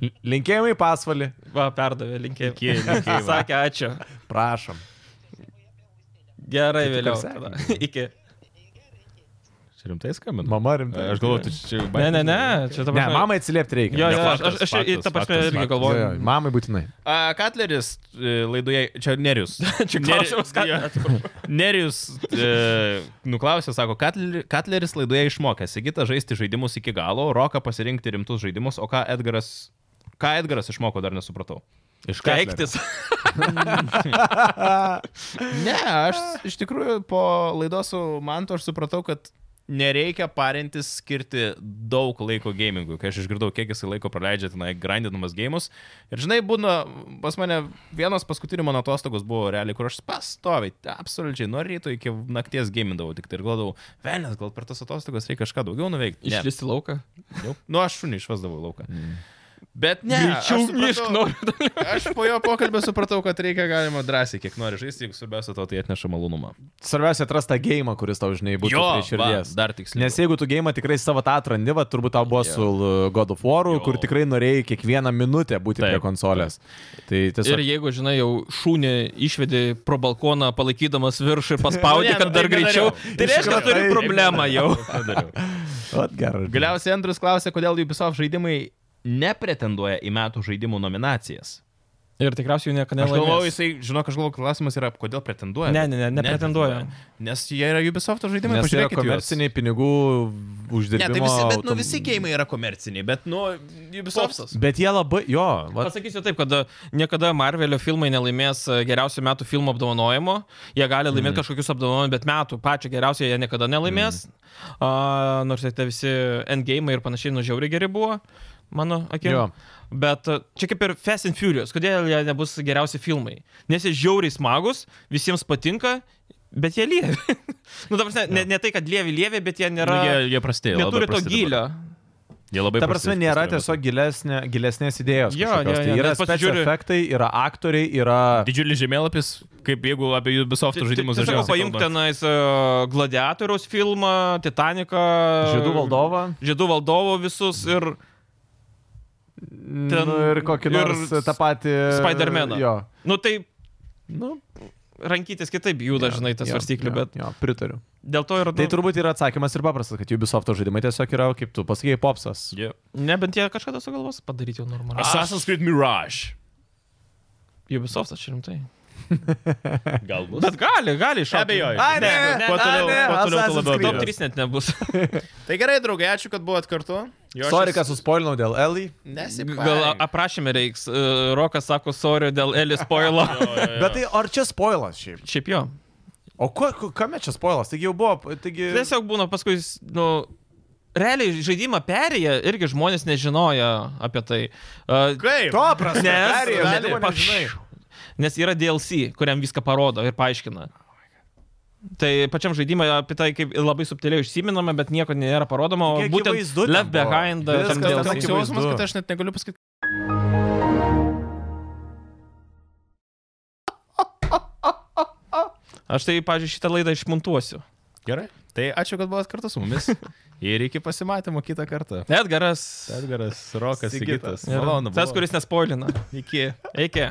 L- Linkėjimai pasvalį.
Va, perdavė linkėjimą.
Linkėjimai, va.
Sakė, ačiū.
Prašom. Tai
Gerai,
tik ar
vėliau.
sekė?
tada. Iki.
Čia rimtai skambina.
Mama rimtai.
Aš galvoju, tu čia...
Ne, ne, ne, čia ta
Ne,
prasme-
mamai atsiliepti reikia.
Jo,
Ne,
jo, aš,
faktas,
aš, aš ir
faktas,
ta prasme
faktas, faktas.
irgi
Jo,
galvoju.
jo, Mamai būtinai.
A, Katleris e, laidoje, čia Nerius.
Čia
Neri-
klausimas, ką-
jo. Nerius e, nuklausė, sako, Katler- Katleris laidoje išmokė Sigitą žaisti žaidimus iki galo, Roką pasirinkti rimtus žaidimus, o ką Edgaras, ką Edgaras išmoko, dar nesupratau.
Iš
Keiktis.
Ne, aš iš tikrųjų po laidos su Mantu aš supratau, kad nereikia parintis skirti daug laiko gamingui. Kai aš išgirdau, kiek jisai laiko praleidžia tenai grindinamas gėjimus. Ir žinai, būna, pas mane vienas paskutinių mano atostogos buvo realiai, kur aš pastoviai, absoliučiai nuo ryto iki nakties gamindavau. Tik tai ir galvodavau, velnės, gal per tas atostogas reikia kažką daugiau nuveikti. Ne.
Išlisti lauką.
Jau. Nu, aš šunį išvasdavau į lauką.
Mm.
Bet ne,
Greičiau
aš supratau-
mišk noriu.
Aš po jo pokalbio supratau, kad reikia galima drąsiai, kiek nori žaisti, jeigu svarbiausia to tai atneša malonumą.
Svarbiausia atrasti tą gėjimą, kuris tau, žinai, būtų prie širdies.
va, dar tiksliau.
Nes jeigu tu gėjimą tikrai savo tą atrandi, va, turbūt tau buvo su l- God of War,
Jo.
kur tikrai norėjai kiekvieną minutę būti
Taip.
prie konsolės. Tai
Ir
tiesiog...
jeigu, žinai, jau šūnį išvedi pro balkoną, palaikydamas viršų ir paspaudė,
Ne, nu,
kad dar
taip nedariau.
greičiau. Tai
Iš
reiškia,
karto
turi
taip
problemą jau.
Vat gerai.
Galiausiai Andrius klausė, kodėl Ubisoft žaidimai nepretenduoja į metų žaidimų nominacijas.
Ir tikriausiai jų niekada
Aš galvoju,
nelaimės.
jisai, žinok, aš galvoju, klausimas yra, kodėl pretenduoja.
Ne, ne, ne, nepretenduoja.
Nes jie yra Ubisoft žaidimai,
Nes tai yra
pažiūrėkit. juos.
komerciniai pinigų
Ne,
uždirbimo.
tai visi, bet nu
autom-
visi gėjimai yra komerciniai, bet nu Ubisoftas.
Popsas.
Bet jie labai, jo, vat,
Pasakysiu taip, kad e, niekada Marvelio filmai nelaimės e, geriausių metų filmų apdovanojimo. Jie gali
Mm.
laimėti kažkokius apdovanojimus, bet metų pačią geriausią jie niekada nelaimės.
Mm.
A, nors ir tie visi endgame ir panašiai nužiauri geri buvo, mano akim.
Jo.
Bet e, čia kaip ir Fast and Furious, kodėl jie nebus geriausi filmai? Nes jie žiauriai smagus, visiems patinka, bet jie lievi. nu, dabar ne, ne, ne tai, kad lievi lievi, bet jie
Nu,
nėra...
jie, jie prasti. jie
Neturi
labai
to
prasti dabar.
gylio.
Jie labai
ta prasme,
prasti
nėra
pastaruoju metu.
tiesiog gilesnė, gilesnės idėjos.
Jo,
kažkokios.
jo,
tai
jo,
yra
nes pasižiūri-
special efektai, yra aktoriai, yra...
Didžiulis žemėlapis, kaip jeigu apie Ubisoftų žaidimus
Tiesiog
dažniausiai
paimk
kalbant.
tenais e, gladiatoriaus filmą, Titaniką.
Žiedų valdovą.
Žiedų valdovo visus ir
Ten, nu, ir kokį
ir
nors tą patį...
Spider-Maną.
E, Jo.
Nu tai
Nu,
rankytis kitaip jų dažnai tas
jo,
svarstyklių,
jo,
bet Nu.
Jo, pritariu.
dėl to yra...
Tai turbūt yra atsakymas ir paprastas, kad Ubisofto žaidimai tiesiog yra, kaip tu pasakėjai, popsas.
Yeah.
Ne, bent jie kažkada sugalvos padaryti jau normaliai.
Assassin's Creed Mirage.
Ubisoft, aš rimtai.
Galbūt.
Bet gali, gali iš
Abejoju.
Ai, ne, ne,
kuo toliau,
ai, ne,
kuo toliau,
Assassin's
tuo labiau.
Creed.
abejoju.
Top 3 net nebus.
Tai gerai, draugai, ačiū, kad buvot kartu. Jošas-
Sorry, kad suspoilinau dėl Ellie.
Nesipareik.
Gal a- aprašyme reiks. E, Rokas sako, sorry dėl Elis Poilo.
Bet tai ar čia spoilas šiaip?
Šiaip jo.
O ko, ko- kame čia spoilas? Taigi jau buvo, taigi...
Tiesiog būna paskui, s- nu, realiai žaidimą perėję irgi žmonės nežinojo apie tai. Uh,
Kaip?
To prasme,
Nes-
perėjo,
gali-
žaidimo
paš-
nežinai.
Nes yra DLC, kuriam viską parodo ir paaiškina. Tai pačiam žaidimui apie tai kaip labai subtiliai užsiminama, bet nieko nėra parodoma. O
Taigi
būtent
akivaizdu ten
Left
buvo.
Behind
Viskas ten
tam
Toks
DLC.
akivaizdu.
jausmas, kad aš net negaliu pasakyti.
Aš tai, pažiūrėjau, šitą laidą išmontuosiu.
Gerai. Tai ačiū, kad buvot kartu su mumis. Ir iki pasimatymo kitą kartą.
Edgaras.
Edgaras, Rokas, Sigitas.
Sigitas.
Malonu.
Tas,
buvo.
kuris nespoilina.
Iki.
Iki.